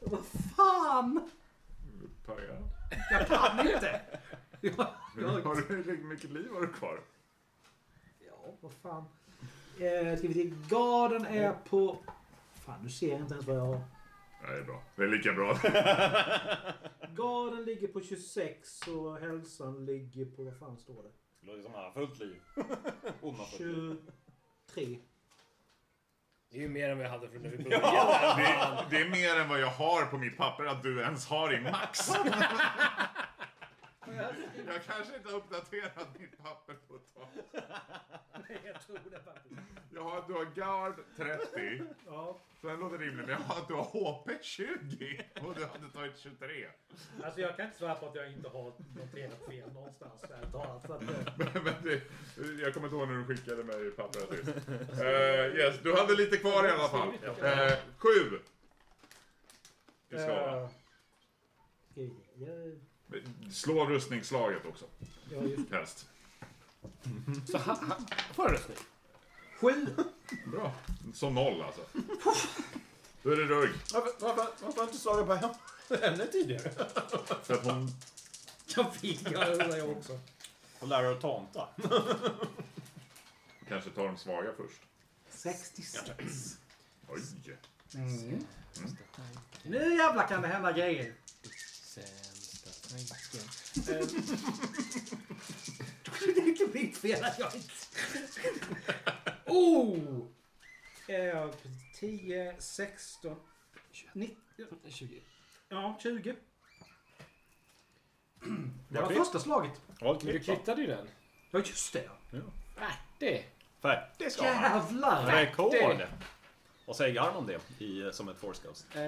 S1: Vad fan!
S2: Parera.
S1: Jag kan inte. Jag, jag,
S2: Har du, hur mycket liv har du kvar?
S1: ja, vad fan. Eh, ska vi se. Garden är på... Fan, nu ser jag inte ens vad jag har.
S2: Ja, det är bra. Det är lika bra.
S1: Garden ligger på 26 och hälsan ligger på... Vad fan står det?
S3: Det låter som han har fullt liv. Hon har fullt liv.
S1: 23.
S4: Det är ju mer än vi hade från när vi började.
S2: Det är, det är mer än vad jag har på mitt papper att du ens har i max. Jag kanske inte har uppdaterat mitt papper på ett tag.
S1: Nej, jag tror det faktiskt.
S2: Jag har, du har guard 30,
S1: Ja,
S2: sen låter det rimligt, men jag har, du har HP 20 och du hade tagit 23.
S1: alltså jag kan inte svära på att jag inte har noterat fel någonstans. Där, talat, så att, eh,
S2: Men det, jag kommer inte ihåg när du skickade mig pappret sist. Eh, yes, du hade lite kvar i alla fall. Eh, sju! I skala.
S1: eh, ska vi se. Jag-
S2: Slå rustningsslaget också,
S1: jag- jag-
S2: helst.
S4: Får du röstning?
S1: Sju!
S2: Bra. Som noll alltså. Då är det Rugg.
S5: Varför, varför, varför har inte slagit på henne tidigare?
S2: För att hon...
S1: Jag fick, jag undrar jag också.
S3: Och lära dig att tanta.
S2: Kanske tar de svaga först.
S1: 66.
S2: Oj!
S1: Nu jävlar kan det hända grejer. Eh.
S5: Sämsta tanken.
S1: Det är inte mitt fel att jag inte... Oh! Eh, 10, 16, 19...
S5: 20.
S1: Ja, 20. Det var första slaget.
S5: Allt
S4: Men du kvittade ju den.
S1: Ja, just det.
S4: Äh, Det.
S3: Färdig ska han ha.
S1: Jävlar!
S3: Rekord! Vad säger Garm om det i, som ett force ghost?
S4: Eh,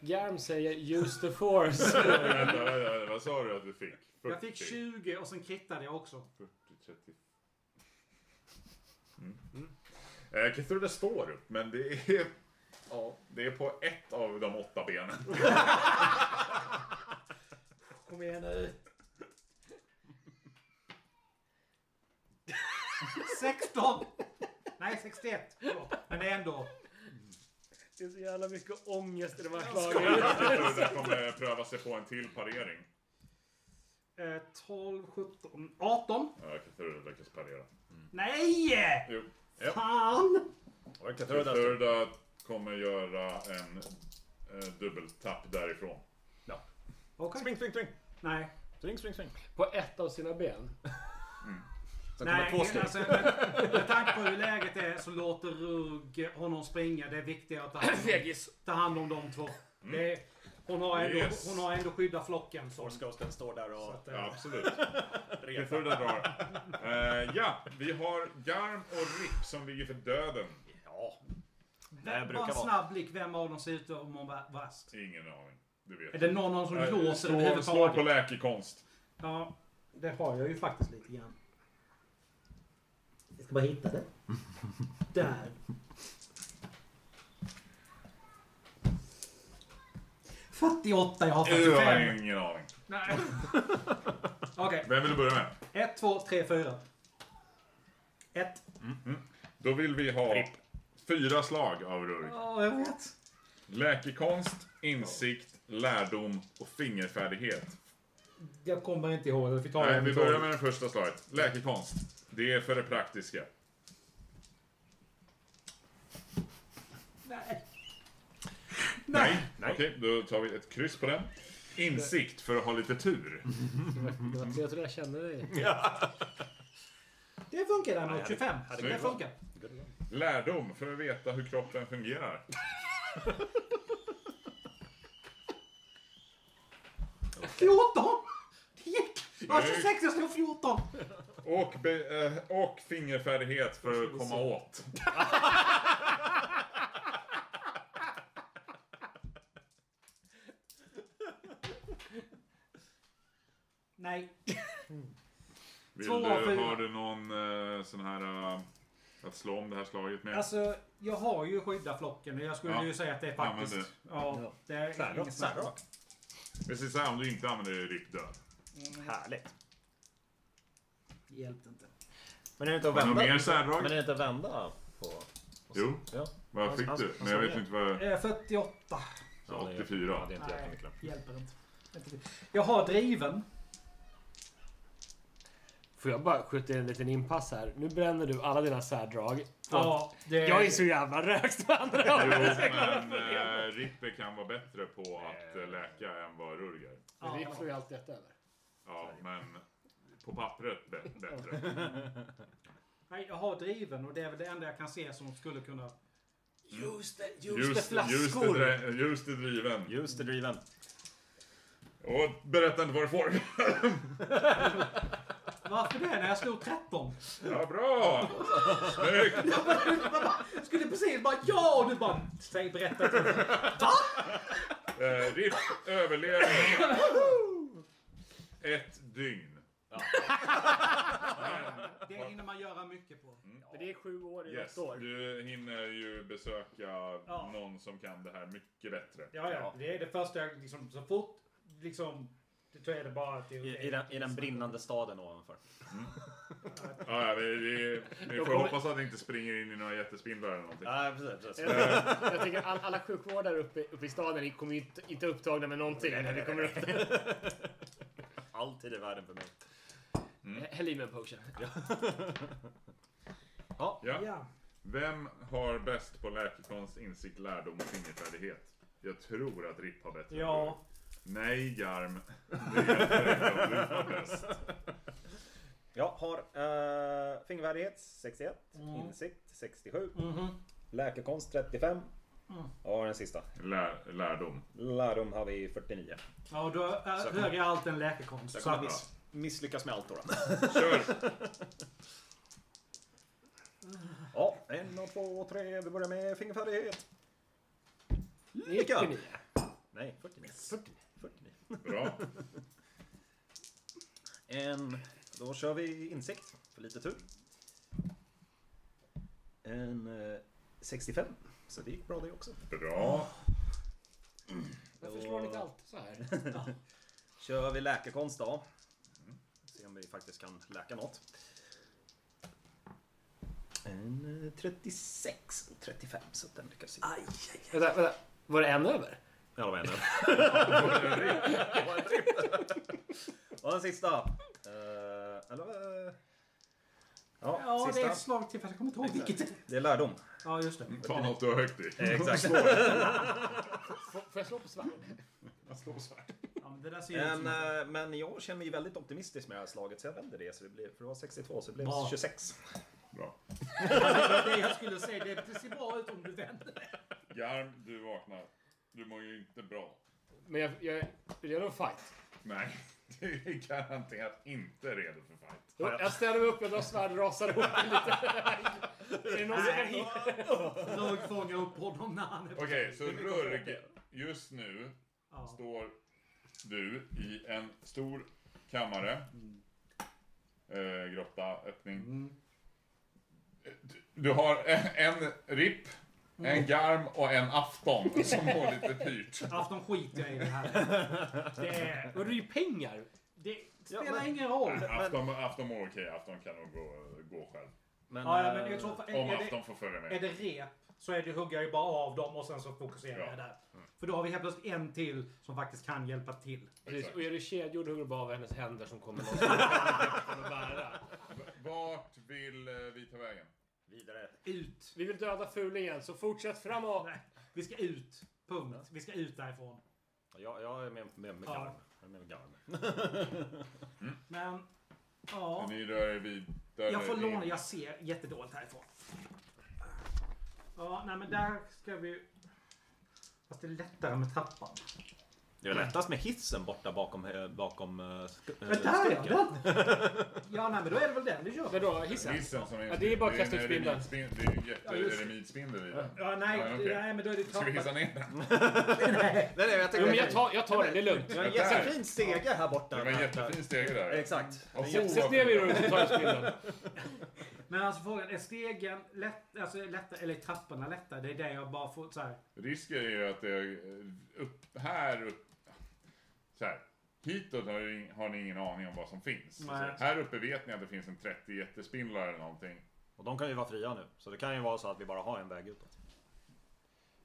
S4: Garm säger use the force.
S2: Vänta, vänta, vänta, vad sa du att du fick? 40?
S1: Jag fick 20 och sen krittade jag också.
S2: 40, 30. Mm. Eh, Kithurda står upp, men det är... Ja, det är på ett av de åtta benen.
S1: Kom igen nu. 16! Nej, 61. Förlåt. Men det är ändå...
S4: Det är så jävla mycket ångest i de här slagen.
S2: Kithurda kommer pröva sig på en till parering.
S1: Eh, 12, 17, 18.
S2: Ja, Kithurda lyckas parera.
S1: Nej!
S2: Jo. Ja.
S1: Fan!
S2: Kithurda kommer göra en eh, dubbeltapp därifrån.
S1: Okej.
S3: Spring, spring, spring!
S1: Nej.
S3: Spring, spring, spring!
S4: På ett av sina ben.
S3: Sen kommer
S1: Nej,
S3: två steg.
S1: alltså, med, med tanke på hur läget är så låter Rugg honom springa. Det är viktigare att ta hand om, ta hand om de två. Det är, hon, har ändå,
S2: Yes.
S1: hon har ändå skyddat flocken. Så.
S3: Force ghosten står där och
S1: att, eh,
S2: Ja, absolut. Det
S3: retar.
S2: förra drar. Eh, ja, vi har Garm och Rip som ligger för döden.
S3: Ja, det
S1: Vem,
S3: här
S1: bara
S3: brukar
S1: en
S3: vara...
S1: snabb blick. Vem av dem ser ut att må va- värst?
S2: Ingen aning. Du
S1: Är
S2: vet.
S1: det någon av dem som
S2: Eh,
S1: låser
S2: slå, slå på
S1: överhuvudtaget?
S2: läkekonst.
S1: Ja, det har jag ju faktiskt lite grann. Jag ska bara hitta det. Där. Fyrtioåtta, jag har
S2: Du har
S1: 45.
S2: ingen aning.
S1: Nej. Okej,
S2: Vem vill du börja med?
S1: ett, två, tre, fyra. Ett.
S2: Då vill vi ha fyra slag av Rurg.
S1: Ja, jag vet.
S2: Läkekonst, insikt, lärdom och fingerfärdighet.
S1: Jag kommer inte ihåg det. Vi tar
S2: Nej,
S1: en
S2: vi
S1: i
S2: börjar
S1: taget.
S2: med det första slaget. Läkekonst. Det är för det praktiska.
S1: Nej.
S2: Nej. Okej, då tar vi ett kryss på den. Insikt för att ha lite tur.
S4: Det
S2: Mm.
S4: var trevligt att jag kände dig.
S1: Det funkar däremot. 25.
S2: det
S1: Det
S2: gått bra.
S1: funkar.
S2: Lärdom för att veta hur kroppen fungerar.
S1: Fjorton! Det gick! Jag var 26 jag slog 14.
S2: Och, be, eh, och fingerfärdighet för att komma åt.
S1: Nej.
S2: Vill
S1: Två av
S2: du,
S1: fyra.
S2: har du någon eh, sån här... eh, att slå om det här slaget med?
S1: Alltså, jag har ju skydda flocken och jag skulle
S2: Ja.
S1: ju säga att det är
S2: Ja, men
S1: faktiskt...
S2: det-
S1: Ja, det är inget snack.
S2: Precis så här, om du inte använder det, ryck död.
S6: Härligt.
S1: Hjälpte inte.
S3: Men är det inte att
S2: Har du
S3: vända?
S2: mer särdrag?
S3: Men är det inte att vända på?
S2: Jo,
S3: Ja. alltså,
S2: vad fick
S3: Han-
S2: du?
S3: han-
S2: Men jag
S3: han
S2: vet
S3: sa
S2: inte vad...
S1: Eh, 48.
S2: Så 84.
S3: Ja, det är inte
S1: Nej.
S3: jättemycket.
S1: Hjälper inte. Inte- Jag har driven.
S4: Får jag bara skjuta in en liten inpass här? Nu bränner du alla dina särdrag.
S1: Ja, det...
S4: Jag är så jävla rökt med andra
S2: Jo,
S4: ord.
S2: men äh, Ripper kan vara bättre på att eh, läka än vad Rurg är.
S1: Ja.
S4: Rick får ju allt detta eller?
S2: Ja, men på pappret bä- bättre.
S1: Nej, jag har driven och det är väl det enda jag kan se som skulle kunna...
S7: Just det,
S2: Just, just, det, drä- just det driven.
S6: Just det, driven.
S2: Och berätta inte vad du får.
S1: Varför det? När jag slog 13?
S2: Ja, bra! Snyggt!
S1: Jag skulle precis bara ja och du bara... Säg, berätta.
S2: Eh, Ripp överlever. Ett dygn.
S1: Det hinner man göra mycket på.
S4: Men det är sju år i
S2: Yes.
S4: åtta år.
S2: Du hinner ju besöka någon som kan det här mycket bättre.
S1: Ja, ja. Det är det första jag liksom... Så fort liksom... Det tror jag det bara att det är
S6: I, i, den, I den brinnande staden ovanför.
S2: Ja, ja, vi, vi, vi får hoppas att ni inte springer in i några jättespindlar eller någonting.
S6: Nej, precis.
S7: Eh.
S6: precis.
S3: Eh.
S4: Jag tänker all, alla sjukvårdare uppe, uppe i staden ni kommer ju inte, inte upptagna med någonting när vi kommer upp där.
S6: Alltid i världen för mig.
S7: Mm.
S4: Häll i mig en potion.
S2: Ja.
S1: Ja.
S2: Vem har bäst på läkekonst, insikt, lärdom och fingerfärdighet? Jag tror att Ripp har bättre.
S1: Ja.
S2: Nej, Garm. Det hjälper inte om du har bäst.
S3: Jag har eh, fingervärdighet 61,
S6: Mm.
S3: insikt 67,
S6: Mhm.
S3: läkekonst 35
S6: Mm.
S3: och den sista.
S2: Lär, lärdom.
S3: Lärdom har vi 49.
S1: Ja, och då äh, är högre allt än läkekonst.
S6: Jag
S1: Så
S6: kommer
S1: att,
S6: miss, misslyckas med allt då. då.
S2: Kör!
S3: Ja, en och två och tre. Vi börjar med fingerfärdighet. Lycka!
S4: 99.
S3: Nej, 49. 49.
S2: Bra.
S3: En, då kör vi insikt, för lite tur. En eh, 65, så det gick bra det också.
S2: Bra.
S4: Varför slår ni inte alltid så här?
S3: Kör vi läkekonst då. Se om vi faktiskt kan läka något. En eh, 36 och 35, så den lyckas ju.
S4: Vänta, vänta. Var det en över?
S3: Ja, det var en öl. Det var en tripp. Och den sista. Eh, eller? eh, Ja,
S1: ja, det
S3: sista.
S1: är ett slag till för jag kommer inte ihåg vilket.
S3: Det är lärdom.
S1: Ja, just det.
S2: Ta något du har högt i.
S3: Eh,
S4: Eh.
S3: Exakt.
S4: Får, får jag slå på svärd?
S1: Ja, men det där ser ju ut
S3: Men,
S1: som att-
S3: eh, men jag känner mig väldigt optimistisk med det här slaget så jag vänder det. Så det blir, för det var 62 så det blev
S1: Bra.
S3: 26.
S2: Bra.
S1: Det jag skulle säga, det det ser bra ut om du vänder.
S2: Garm, du vaknar. Du mår ju inte bra.
S4: Men jag, jag är redo för fight.
S2: Nej, du är garanterat inte redo för fight.
S4: Jag, jag ställer mig upp, jag drar svärd, rasar ihop lite. Är det någon som
S1: Rög fångar upp honom när han är på
S2: Okej, så Rurg, just nu
S1: ja.
S2: står du i en stor kammare.
S1: Mm.
S2: Eh, grotta, öppning. Du, du har en, en ripp,
S1: Mm.
S2: en garm och en afton som mår lite pyrt.
S1: Afton skiter jag i det här. Det, är,
S4: Och det är ju pengar.
S1: det
S3: Ja,
S1: spelar
S3: men-
S1: ingen roll.
S2: Afton, afton mår okej, afton kan nog gå, gå själv.
S3: Men,
S1: Ja, ja, men
S3: eh,
S1: jag tror för,
S2: Om
S1: är,
S2: afton får följa
S1: det, är
S2: med.
S1: det rep så är det, hugger jag ju bara av dem och sen så fokuserar
S2: Ja.
S1: jag där. För då har vi helt plötsligt en till som faktiskt kan hjälpa till.
S4: Precis.
S2: Exakt.
S4: Och är du kedjor hugger du bara av hennes händer som kommer loss. Kommer bära.
S2: Vart vill eh, vi ta vägen?
S3: Vidare.
S1: Ut!
S4: Vi vill döda fulingen, så fortsätt framåt.
S1: Nej, vi ska ut. Punkt. Vi ska ut därifrån.
S3: Jag, jag är med med, med
S1: Ja.
S3: garm. Jag är med med garm.
S1: Men, ja.
S2: Ni rör er vid...
S1: Jag får låna, jag ser jättedåligt härifrån. Ja, nej men där ska vi... Fast det är lättare med trappan.
S3: Det är väl lättast med hissen borta bakom... eh, bakom eh, sk- eh,
S1: Men där är
S3: skurken.
S1: den! Ja, nej, men då är det väl den du kör.
S4: Vadå, hissen?
S2: Nissen som är...
S4: Ja, det är bara
S2: en
S4: att kasta ut spindeln.
S2: remidspin- Det är ju en
S1: Ja, just det.
S2: jättereridspindel i den.
S1: Ja, nej,
S2: Ja, okej.
S1: nej, men då är det
S2: Ska vi hissa
S1: tappat.
S2: ner den?
S3: Nej, nej,
S4: Jo,
S3: jag tänkte...
S4: men jag tar, jag tar den, det är lugnt.
S3: Vi har en jättefin stege här borta.
S2: Det var en jättefin stege där.
S3: Exakt.
S2: Och
S3: jätte-
S2: så-
S4: Sätt ner mig då så tar jag spindeln.
S1: Men alltså frågan, är stegen lätt, alltså, är lätta, eller är trapporna lätta? Det är det jag bara får så här.
S2: Risken är ju att det är upp här upp... Så här. Hitåt har ni, har ni ingen aning om vad som finns.
S1: Nej.
S2: Så här uppe vet ni att det finns en 30 jättespindlar eller någonting.
S3: Och de kan ju vara fria nu. Så det kan ju vara så att vi bara har en väg utåt.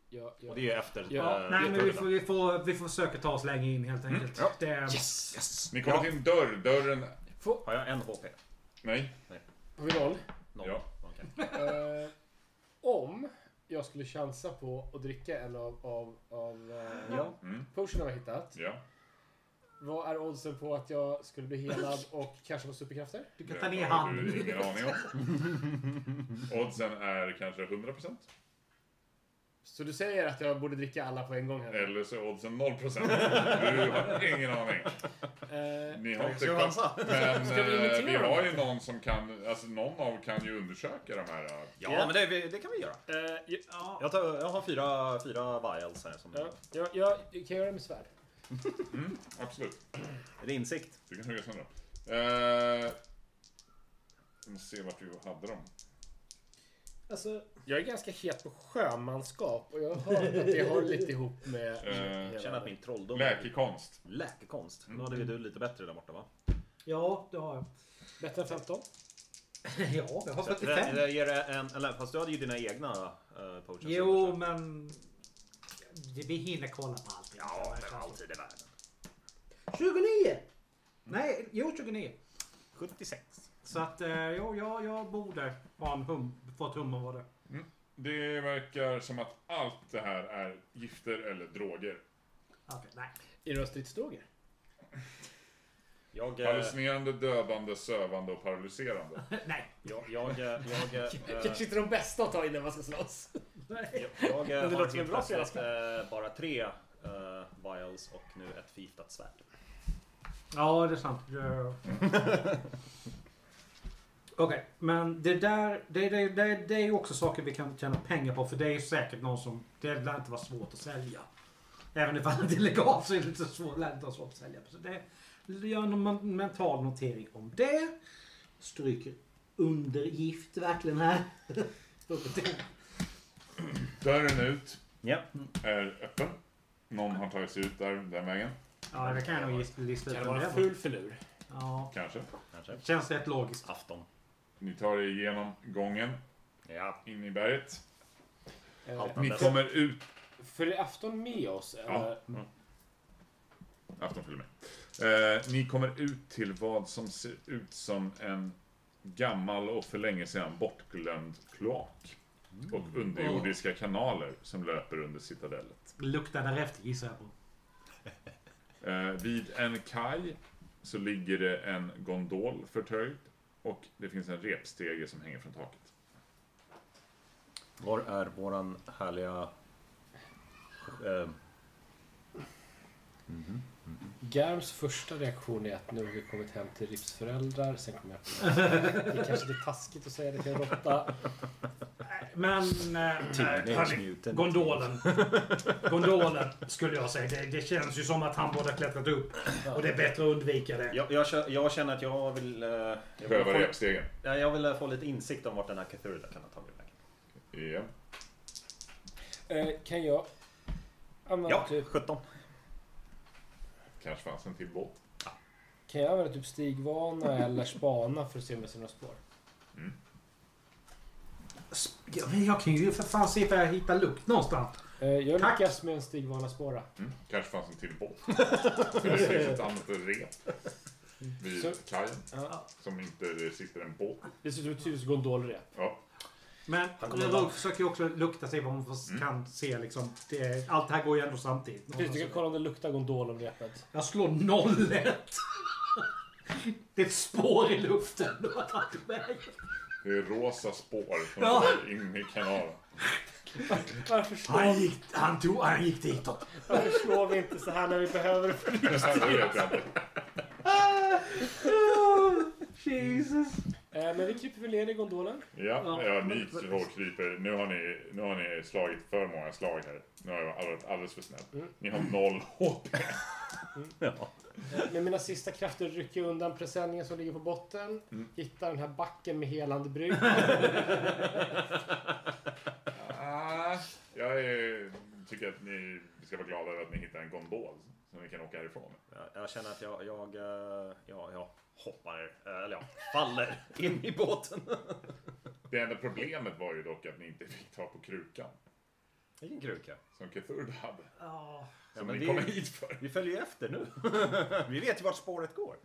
S4: Ja, ja.
S3: Och det är ju efter...
S4: Ja,
S3: eh,
S1: Nej, men vi
S3: utgången.
S1: får, vi, får, vi får försöka ta oss längre in helt enkelt.
S2: ja.
S1: Det,
S4: Yes!
S3: Mm, Yes!
S2: Ni kommer
S3: Ja.
S2: till en dörr. Dörren...
S3: Har jag en HP?
S2: Nej.
S4: Har vi noll?
S3: Noll.
S2: Ja.
S3: Okej.
S4: Eh, om jag skulle chansa på att dricka en av, av, av eh,
S3: Ja.
S2: Mm.
S4: potionerna jag hittat.
S2: Ja.
S4: Vad är oddsen på att jag skulle bli helad och kanske få superkrafter?
S1: du kan ta ner
S2: Det har
S1: handen.
S3: Mm.
S2: du Ingen aning om. Oddsen är kanske 100%.
S4: Så du säger att jag borde dricka alla på en gång här?
S2: Eller så är oddsen 0%. Du har ingen aning.
S4: Eh,
S2: Ni har inte
S3: Ska vi
S2: koll.
S3: chansa?
S2: Men
S4: Ska vi imitera
S2: eh, vi
S4: dem?
S2: har ju någon som kan... Alltså någon av kan ju undersöka de här. eh,
S3: Ja, men det, det kan vi göra.
S4: eh, jag,
S1: Ja,
S3: Jag, tar, jag har fyra, fyra vials här. Som,
S4: jag, jag, jag, kan jag göra det med svärd?
S2: Absolut.
S3: Är det insikt?
S2: Du kan hugga sönder dem. Eh, vi måste se vart du hade dem.
S4: Alltså, jag är ganska het på sjömanskap och jag har hört att det har lite ihop med...
S2: Eh,
S3: Jag känner att min trolldom...
S2: Läkekonst.
S3: Läkekonst. Nu hade vi du lite bättre där borta va?
S1: ja det har jag.
S4: Bättre än 15?
S1: Ja, jag har
S3: Så Det,
S1: 45.
S3: det ger en, eller, fast du hade ju dina egna uh, potions.
S1: Jo, men... det- Vi hinner kolla på allt.
S3: Ja, men alltid i världen.
S1: 29! Mm. Nej, jo 29.
S3: 76.
S1: Så att eh, jo, jag, jag borde ha en hum, fått hum om vad det
S2: Det verkar som att allt det här är gifter eller droger.
S1: Okej, nej.
S4: Är det stridsdroger?
S3: Jag... eh,
S2: Hallucinerande, dödande, sövande och paralyserande.
S1: nej.
S3: Jag... Jag... eh, Jag... eh, eh,
S4: Kanske inte de bästa att ta innan man ska slåss.
S3: jag, jag
S4: låter
S3: har
S4: som en
S3: helt
S4: bra
S3: plötsligt eh, bara tre eh, vials och nu ett förgiftat svärd.
S1: Ja, det är sant. Det- Okej, men det där, det, det, det, det är ju också saker vi kan tjäna pengar på för det är ju säkert någon som, det lär inte vara svårt att sälja. Även ifall det är legalt så är det inte svårt, lär det inte vara svårt att sälja. Så det, gör en men- mental notering om det. Stryker undergift verkligen här.
S2: Dörren ut
S3: Ja.
S2: är öppen. Någon har tagit sig ut där, den vägen.
S1: ja, det kan jag nog gis- lista ut.
S4: Kan det
S1: vem
S4: vara en
S1: var.
S4: ful filur?
S1: Ja,
S2: Kanske.
S3: Kanske.
S1: känns rätt logiskt.
S3: Afton.
S2: Ni tar er igenom gången
S3: Ja.
S2: in i berget.
S4: Eh,
S2: Ni
S3: Haltandes.
S2: kommer ut...
S4: följer afton med oss?
S2: Ja.
S4: Eh,
S2: Afton följer med. Eh, ni kommer ut till vad som ser ut som en gammal och för länge sedan bortglömd kloak. Och underjordiska kanaler som löper under citadellet.
S1: Luktar därefter gissar jag på.
S2: Eh, vid en kaj så ligger det en gondol förtöjd. Och det finns en repstege som hänger från taket.
S3: Var är våran härliga... Eh,
S4: Garms första reaktion är att nu har vi kommit hem till Rips föräldrar. Sen kommer jag på det är kanske lite taskigt att säga det till en råtta.
S1: Men...
S3: Teenage
S1: Eh, hörni,
S3: Mutant.
S1: gondolen. Gondolen skulle jag säga. Det, det känns ju som att han borde ha klättrat upp. Och det är bättre att undvika det.
S3: jag, jag, kö- jag känner att jag vill... eh, jag vill
S2: Pröva
S3: få-
S2: repstegen.
S3: Ja, jag vill eh, få lite insikt om vart den här Cthulhu kan ha tagit vägen.
S2: Ja.
S4: Eh, kan jag använda,
S3: Ja,
S4: typ,
S3: 17.
S2: Kanske fanns en till båt.
S4: kan jag använda typ stigvana eller spana för att se om jag ser några spår?
S1: Sp- Ja, men jag kan ju för fan se ifall jag hittar lukt någonstans.
S4: Eh, jag
S1: Tack.
S4: lyckas med en stigvana spåra.
S2: Mm. Kanske fanns en till båt. För det finns ett annat rep
S4: Så-
S2: vid kajen
S4: Ja.
S2: som inte det sitter en båt.
S4: Det ser ut som ett typiskt gondolrep.
S2: Ja.
S1: Men
S3: kommer
S1: Rog
S3: undan.
S1: försöker ju också lukta sig vad man får- kan se liksom. Det, är- allt det här går ju ändå samtidigt.
S4: Precis, du kan kolla om det luktar gondol om repet.
S1: Jag slår 01. Det är ett spår i luften.
S2: Det är rosa spår som
S1: Ja.
S2: går in i kanalen.
S4: Varför slår,
S1: Han gick, han tog, han gick ditåt.
S4: varför slår vi inte så här när vi behöver det för
S2: Det här vet jag inte.
S1: Jesus.
S4: Eh, men vi kryper väl ner i gondolen.
S2: Ja, ja ni två kryper. Nu har, ni, nu har ni slagit för många slag här. Nu har jag varit alldeles för snabb. Ni har noll HP.
S4: Eh, med mina sista krafter rycker jag undan presenningen som ligger på botten. Hittar den här backen med helande brygg.
S2: Ah, jag är, tycker att ni ska vara glada över att ni hittar en gondol som ni kan åka härifrån.
S8: Jag, jag känner att jag, jag, eh, jag, jag hoppar, eh, eller jag faller in i båten.
S2: Det enda problemet var ju dock att ni inte fick ta på krukan
S8: Vilken kruka.
S2: som Cthulhu hade.
S1: Ja.
S8: Ja,
S2: Som
S8: men
S2: ni
S8: det-
S2: kom hit för.
S8: Vi följer ju efter nu. Vi vet ju vart spåret går.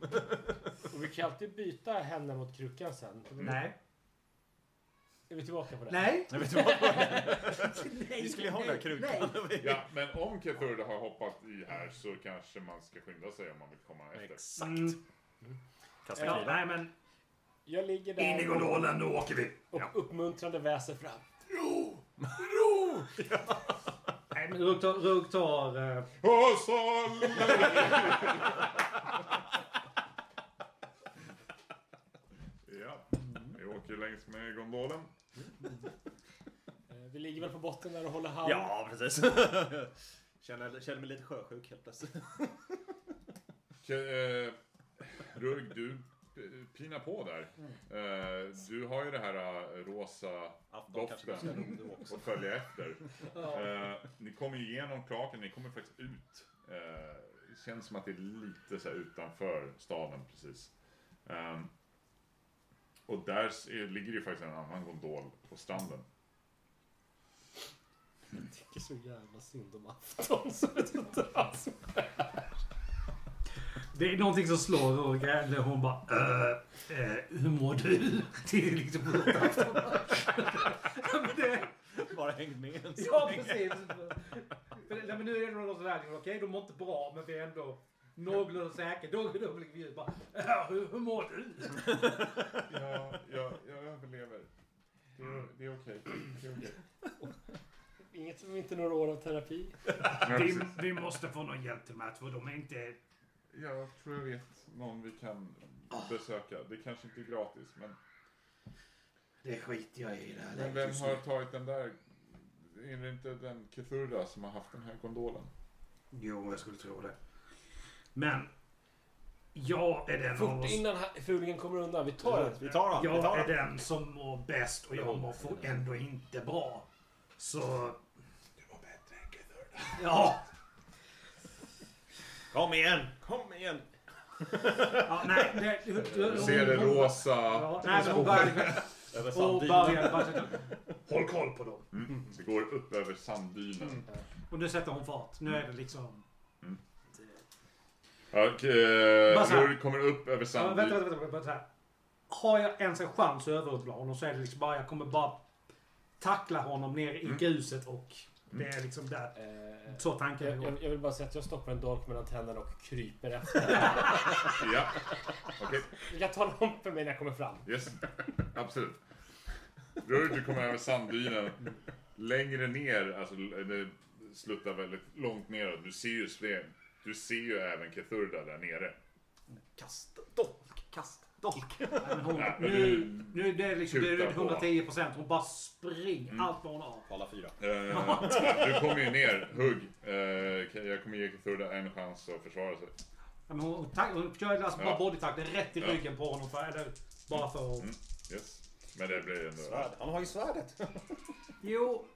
S4: Och vi kan alltid byta henne mot krukan sen.
S1: Nej.
S4: Är vi tillbaka på det?
S1: Nej.
S8: Jag vet inte vad-
S1: Nej.
S8: Vi skulle ju ha den här krukan.
S2: Ja, men om Cthulhu har hoppat i här så kanske man ska skynda sig om man vill komma efter.
S8: Exakt. Mm. Kasta
S1: Ja,
S8: kniven.
S1: nej men.
S4: Jag ligger
S1: In i
S4: där
S1: gondolen, då åker vi.
S4: och uppmuntrande väser fram.
S1: Nej men Rugg tar... Rugg tar eh,
S2: Och så... ja, vi åker längs med gondolen.
S4: Eh, Vi ligger väl på botten där och håller hand.
S8: Ja, precis. Känner, känner mig lite sjösjuk helt plötsligt.
S2: K- eh, Rurg, du p- pina på där.
S8: Mm.
S2: Eh, du har ju det här eh, rosa
S8: Afton kanske du ska
S2: doften
S8: ro du också.
S2: att följa efter. Eh, ni kommer ju igenom klaken, ni kommer faktiskt ut. Eh, det känns som att det är lite så här utanför staden precis. Ehm, och där s- är- ligger ju faktiskt en annan gondol på stranden.
S4: tycker så jävla synd om afton så det inte alls.
S1: Det är någonting som slår Rugg. Eller hon bara... eh, eh, hur mår du? Det är liksom... Ja, men det-
S8: Bara hängt med en
S1: Ja, precis. För, nej, men nu är det någon sån här, okej, de mår inte bra, men vi är ändå någorlunda säkra. Då då blir vi ju bara, "Ja, hur, hur mår du?
S2: Jag, jag, jag överlever. Det är, det är okej. Det är okej.
S4: Inget som inte några år av terapi.
S2: Ja,
S1: Vi,
S2: precis.
S1: vi måste få någon hjälp till match, för de är inte...
S2: Jag tror jag vet någon vi kan
S1: Ah.
S2: besöka. Det kanske inte är gratis, men,
S1: Det skiter jag i det här
S2: men vem har tagit den där? Är det inte den Kefurda som har haft den här gondolen?
S1: Jo, jag skulle tro det. Men, jag är den av
S4: Fort
S1: oss...
S4: innan han- fulingen kommer undan. Vi tar den.
S8: Vi tar honom. Vi
S1: Jag
S8: tar
S1: är
S8: honom.
S1: den som mår bäst och jag mår för- ändå inte bra. Så... Du mår bättre än Ja,
S8: Kom igen! Kom igen!
S1: ja, nej. Det,
S2: Du ser det rosa.
S1: Ja, nej, men hon började
S8: Över
S1: Och
S8: sanddynen.
S1: började bara... Håll koll på dem.
S2: Mm, det går upp över sanddynen.
S1: Mm. Och nu sätter hon fart. Nu är det liksom...
S2: Ja, Och, eh,
S1: Bara så här.
S2: Rur kommer upp över
S1: Ja, vänta,
S2: sanddynen.
S1: vänta, vänta, vänta. så här. Har jag ens en chans att överrumpla honom så är det liksom bara... Jag kommer bara tackla honom ner i gruset och... Det är liksom där.
S4: Eh,
S1: Så tanken
S4: jag,
S1: är.
S4: jag, jag vill bara säga att jag stoppar en dolk mellan tänderna och kryper efter.
S2: Ja, okej.
S4: Jag talar om för mig när jag kommer
S1: Mm.
S4: fram.
S2: Yes, absolut. Rur, du kommer över sanddynen. Längre ner, alltså det sluttar väldigt långt neråt. Du ser ju Sven. Du ser ju även Kefurda där nere.
S8: Kast dolk! Kast dolk!
S1: Men hon,
S2: Ja, men
S1: nu,
S2: du-
S1: nu är det liksom det är
S2: Kutar på.
S1: 110 procent. Hon bara springer allt vad hon har.
S8: Alla fyra.
S2: Eh, du kommer ju ner, hugg. Eh, jag kommer ge Kefurda en chans att försvara sig.
S1: Ja, men hon, tack, hon kör alltså
S2: Ja.
S1: bara bodytack. Det är rätt i
S2: Ja.
S1: ryggen på honom. För, eller, bara för att...
S2: Yes. Men det blir ändå...
S8: Svärd. Han har ju svärdet.
S1: Jo,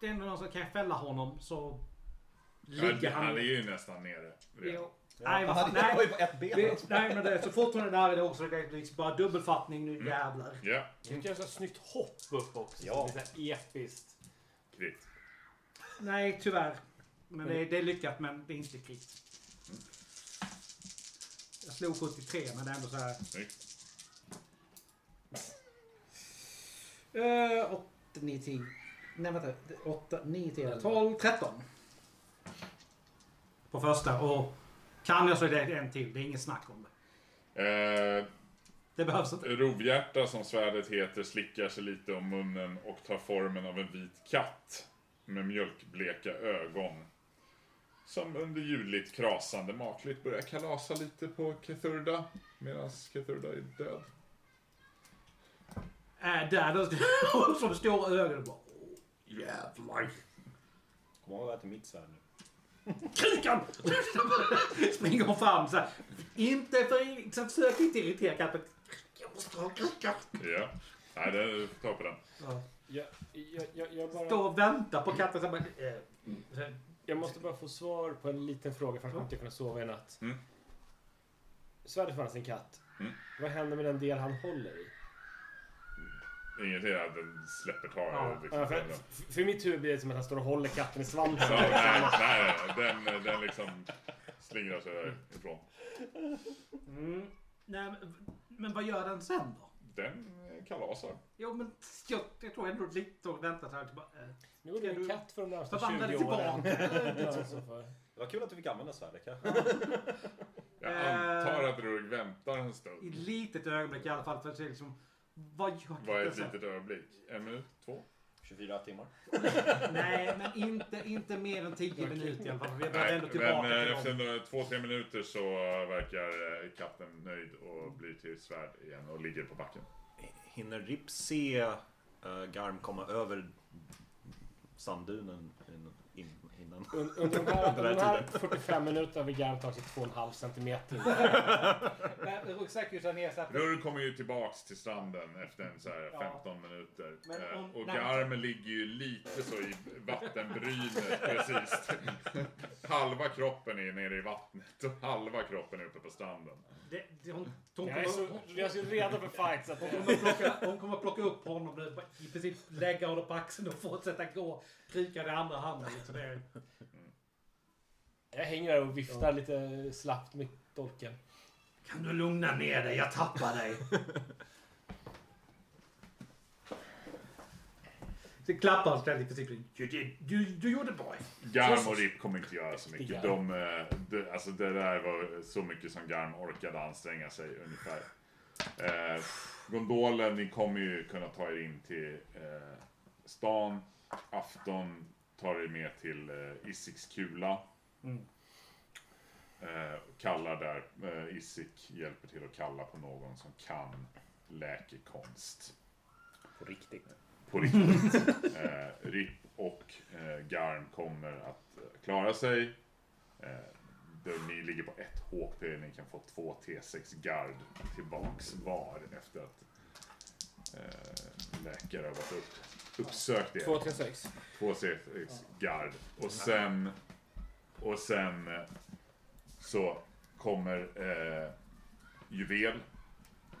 S1: det är ändå någon som kan fälla honom så ligger
S2: Han,
S1: han...
S2: han är ju nästan nere. redan.
S1: Jo. Nej,
S8: Han
S1: men,
S8: hade- han var ju
S1: nej,
S8: på ett ben.
S1: det, nej, men det, så fort hon är där är det också det är liksom bara dubbelfattning. Nu jävlar.
S2: Ja,
S4: Jag tycker jag ska ett snyggt hopp upp också.
S8: Ja.
S4: Det är så här episkt.
S2: krit.
S1: Nej, tyvärr. Men det, det är lyckat, men det är inte krit. Jag slog 73, men det är ändå så här.
S2: Snyggt.
S1: Eh, 8, 9, 10. Nej vänta. 8, 9, 10, 12, 13. På första. Och kan jag så är det en till. Det är inget snack om det.
S2: Eh,
S1: Det behövs inte.
S2: Rovhjärta som svärdet heter slickar sig lite om munnen och tar formen av en vit katt med mjölkbleka ögon. Som under ljudligt krasande makligt börjar kalasa lite på Kethurda medan Kethurda är död.
S1: Äh, där då. Som stora ögon och bara... "Åh, Jävlar.
S8: Kom ihåg att det är mitt svärd nu.
S1: Krikan! Springer hon fram så här. Inte för... Så försök inte irritera katten. Jag måste ha krikan.
S2: Ja. Nej, det ta på den.
S1: Ja.
S4: Jag, jag, jag, jag,
S1: Står
S4: bara,
S1: och väntar på katten. Så här, bara, eh,
S4: jag måste bara få svar på en liten fråga för att jag inte kunna sova i natt.
S2: Mm.
S4: Svärdet fanns i en katt.
S2: Mm.
S4: Vad händer med den del han håller i?
S2: Ingenting att den släpper taget. liksom.
S4: Ja, för,
S2: Den-
S4: för- för mitt huvud blir det som att han står och håller katten i svansen.
S2: Ja, nej, nej, den, den liksom slingrar sig ifrån.
S1: mm. Nej, men, men vad gör den sen då?
S2: Den kalasar.
S1: Jo, men jag, jag tror ändå lite och väntar så här. Typ, bara, eh,
S4: Nu är det
S1: Ska
S4: en
S1: du
S4: katt för de närmsta 20
S1: förvandla
S4: åren.
S1: dig tillbaka.
S4: Ja, i så fall.
S8: Det var kul att du fick använda svärdet kanske.
S2: Jag
S1: Eh.
S2: antar att Rurg väntar en
S1: I ett
S2: stund.
S1: litet ögonblick i alla fall. För att se liksom, vad gör
S2: Vad är
S1: katten
S2: ett
S1: sen?
S2: litet ögonblick? En minut? Två?
S8: 24 timmar.
S1: Nej, men inte, inte mer än 10 minuter i alla fall. Vi behöver
S2: Nej,
S1: ändå tillbaka
S2: men eh,
S1: till
S2: efter
S1: dem.
S2: några- två, tre minuter så verkar eh, katten nöjd och blir till svärd igen och ligger på backen.
S8: Hinner Rip se eh, Garm komma över sanddunen in- in- innan?
S4: Un- Under de här,
S8: Den här
S4: de här 45 minuterna har vi garmt tagit 2,5 centimeter. in.
S1: Men ryggsäcken ner så att...
S2: Rurr kommer ju tillbaks till stranden efter en så här 15 minuter.
S1: Men
S2: Eh,
S1: om-
S2: Och
S1: nej.
S2: Garm ligger ju lite så i vattenbrynet precis. Halva kroppen är nere i vattnet och halva kroppen är uppe på stranden.
S1: Det, det, hon, hon,
S4: Jag är så,
S1: kommer,
S4: jag är så redo för fight så att
S1: hon, kommer plocka, hon kommer plocka upp honom nu. I princip lägga honom på axeln och fortsätta gå. Kryka den andra handen. Liksom. Det är-
S4: jag hänger där och viftar lite slappt med dolken.
S1: Kan du lugna ner dig? Jag tappar dig. Så klappar han ständigt på cykeln. Du, du, du gjorde bra.
S2: Garm och Rip kommer inte göra så mycket.
S4: Riktig
S2: De, eh, de, alltså det där var så mycket som Garm orkade anstränga sig ungefär. Eh, gondolen, ni kommer ju kunna ta er in till eh, stan. Afton tar er med till eh, Issiks kula. Eh, kallar där. Eh, Issik hjälper till att kalla på någon som kan läkekonst.
S8: På riktigt.
S2: På riktigt. eh, Rip och eh, Garm kommer att eh, klara sig. Eh, då ni ligger på ett HP, ni kan få två T6 gard tillbaks var efter att eh, läkare har varit upp, uppsökt er.
S4: 2,36.
S2: Två T6 gard. Och sen, och sen eh, så kommer eh, Juvel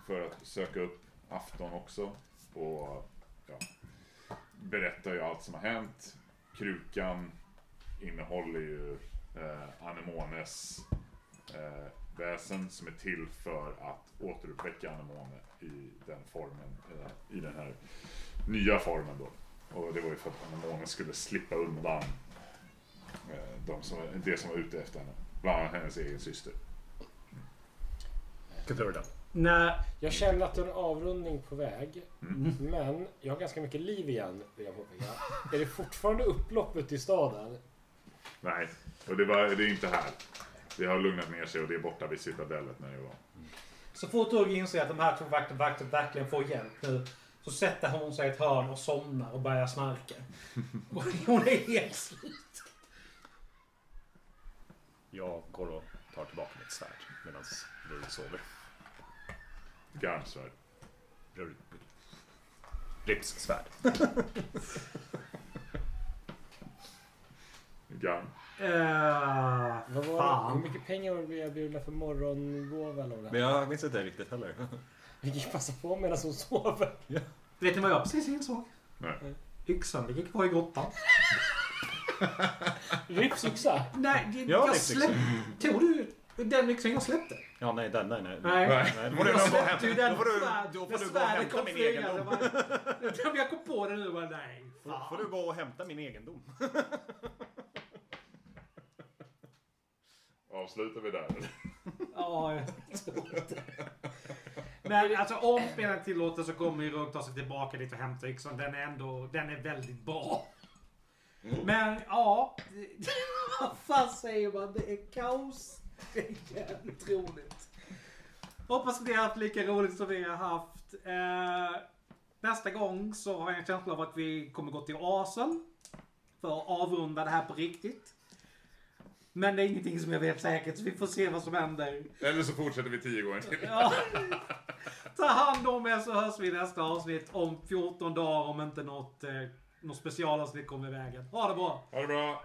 S2: för att söka upp Afton också. Och ja, berättar ju allt som har hänt. Krukan innehåller ju eh, anemones eh, väsen som är till för att återuppväcka anemone i den formen, eh, i den här nya formen då. Och det var ju för att anemonen skulle slippa undan eh, de som, det som var ute efter henne. Bland annat hennes egen syster.
S8: Kulturda.
S1: Nej,
S4: Jag känner att det är en avrundning på väg. Men jag har ganska mycket liv igen, vill jag påpeka. Är det fortfarande upplopp ute i staden?
S2: Nej, och det, var, det är inte här. Det har lugnat ner sig och det är borta vid citadellet när det var.
S1: Så fort Urg inser att de här två vakter, vakter verkligen får hjälp nu så sätter hon sig i ett hörn och somnar och börjar snarka. Och hon är helt slut.
S8: Jag går och tar tillbaka mitt svärd medan Rurr sover.
S2: Garmsvärd.
S8: Rurr. Rips svärd.
S2: Garm.
S1: Uh,
S4: Vad var det?
S1: Fan.
S4: Hur mycket pengar blev jag bjudna för morgongåva eller vad det
S8: Men
S4: är?
S8: jag minns inte riktigt heller.
S4: Vi gick passa på medan hon sover.
S1: vet ni vad jag precis insåg?
S2: Nej.
S1: Yxan ligger kvar i grottan.
S4: Rips yxa.
S1: Nej, det,
S8: Ja, det liksom. är
S1: jag släppte... Tog du den yxan jag släppte?
S8: Ja, nej, den, nej, nej.
S1: Nej.
S8: nej då får du nog gå
S1: Jag
S8: och
S1: släppte
S8: hämta-
S1: ju
S8: då
S1: den
S8: får du-
S1: svärd-
S8: då får
S1: när
S8: du gå och
S1: svärdet
S8: hämta
S1: kom
S8: min
S1: flygande.
S8: egendom.
S1: Jag bara- Jag kom på det nu. Bara, nej,
S8: Då får
S1: fan.
S8: du gå och hämta min egendom.
S2: Avslutar vi där eller?
S1: Ja, jag tror det. Men alltså om spelaren tillåter så kommer ju Rogue ta sig tillbaka dit och hämta yxan. Den är ändå, den är väldigt bra. Men ja, det- vad fan säger man? Det är kaos. Det är jävligt roligt. Hoppas ni har haft lika roligt som vi har haft. Eh, nästa gång så har jag en känsla av att vi kommer gå till Asel. För att avrunda det här på riktigt. Men det är ingenting som jag vet säkert så vi får se vad som händer.
S2: Eller så fortsätter vi tio gånger till.
S1: Ja. Ta hand om er så hörs vi i nästa avsnitt om 14 dagar om inte något, eh, något specialavsnitt kommer i vägen. Ha det bra!
S2: Ha det bra!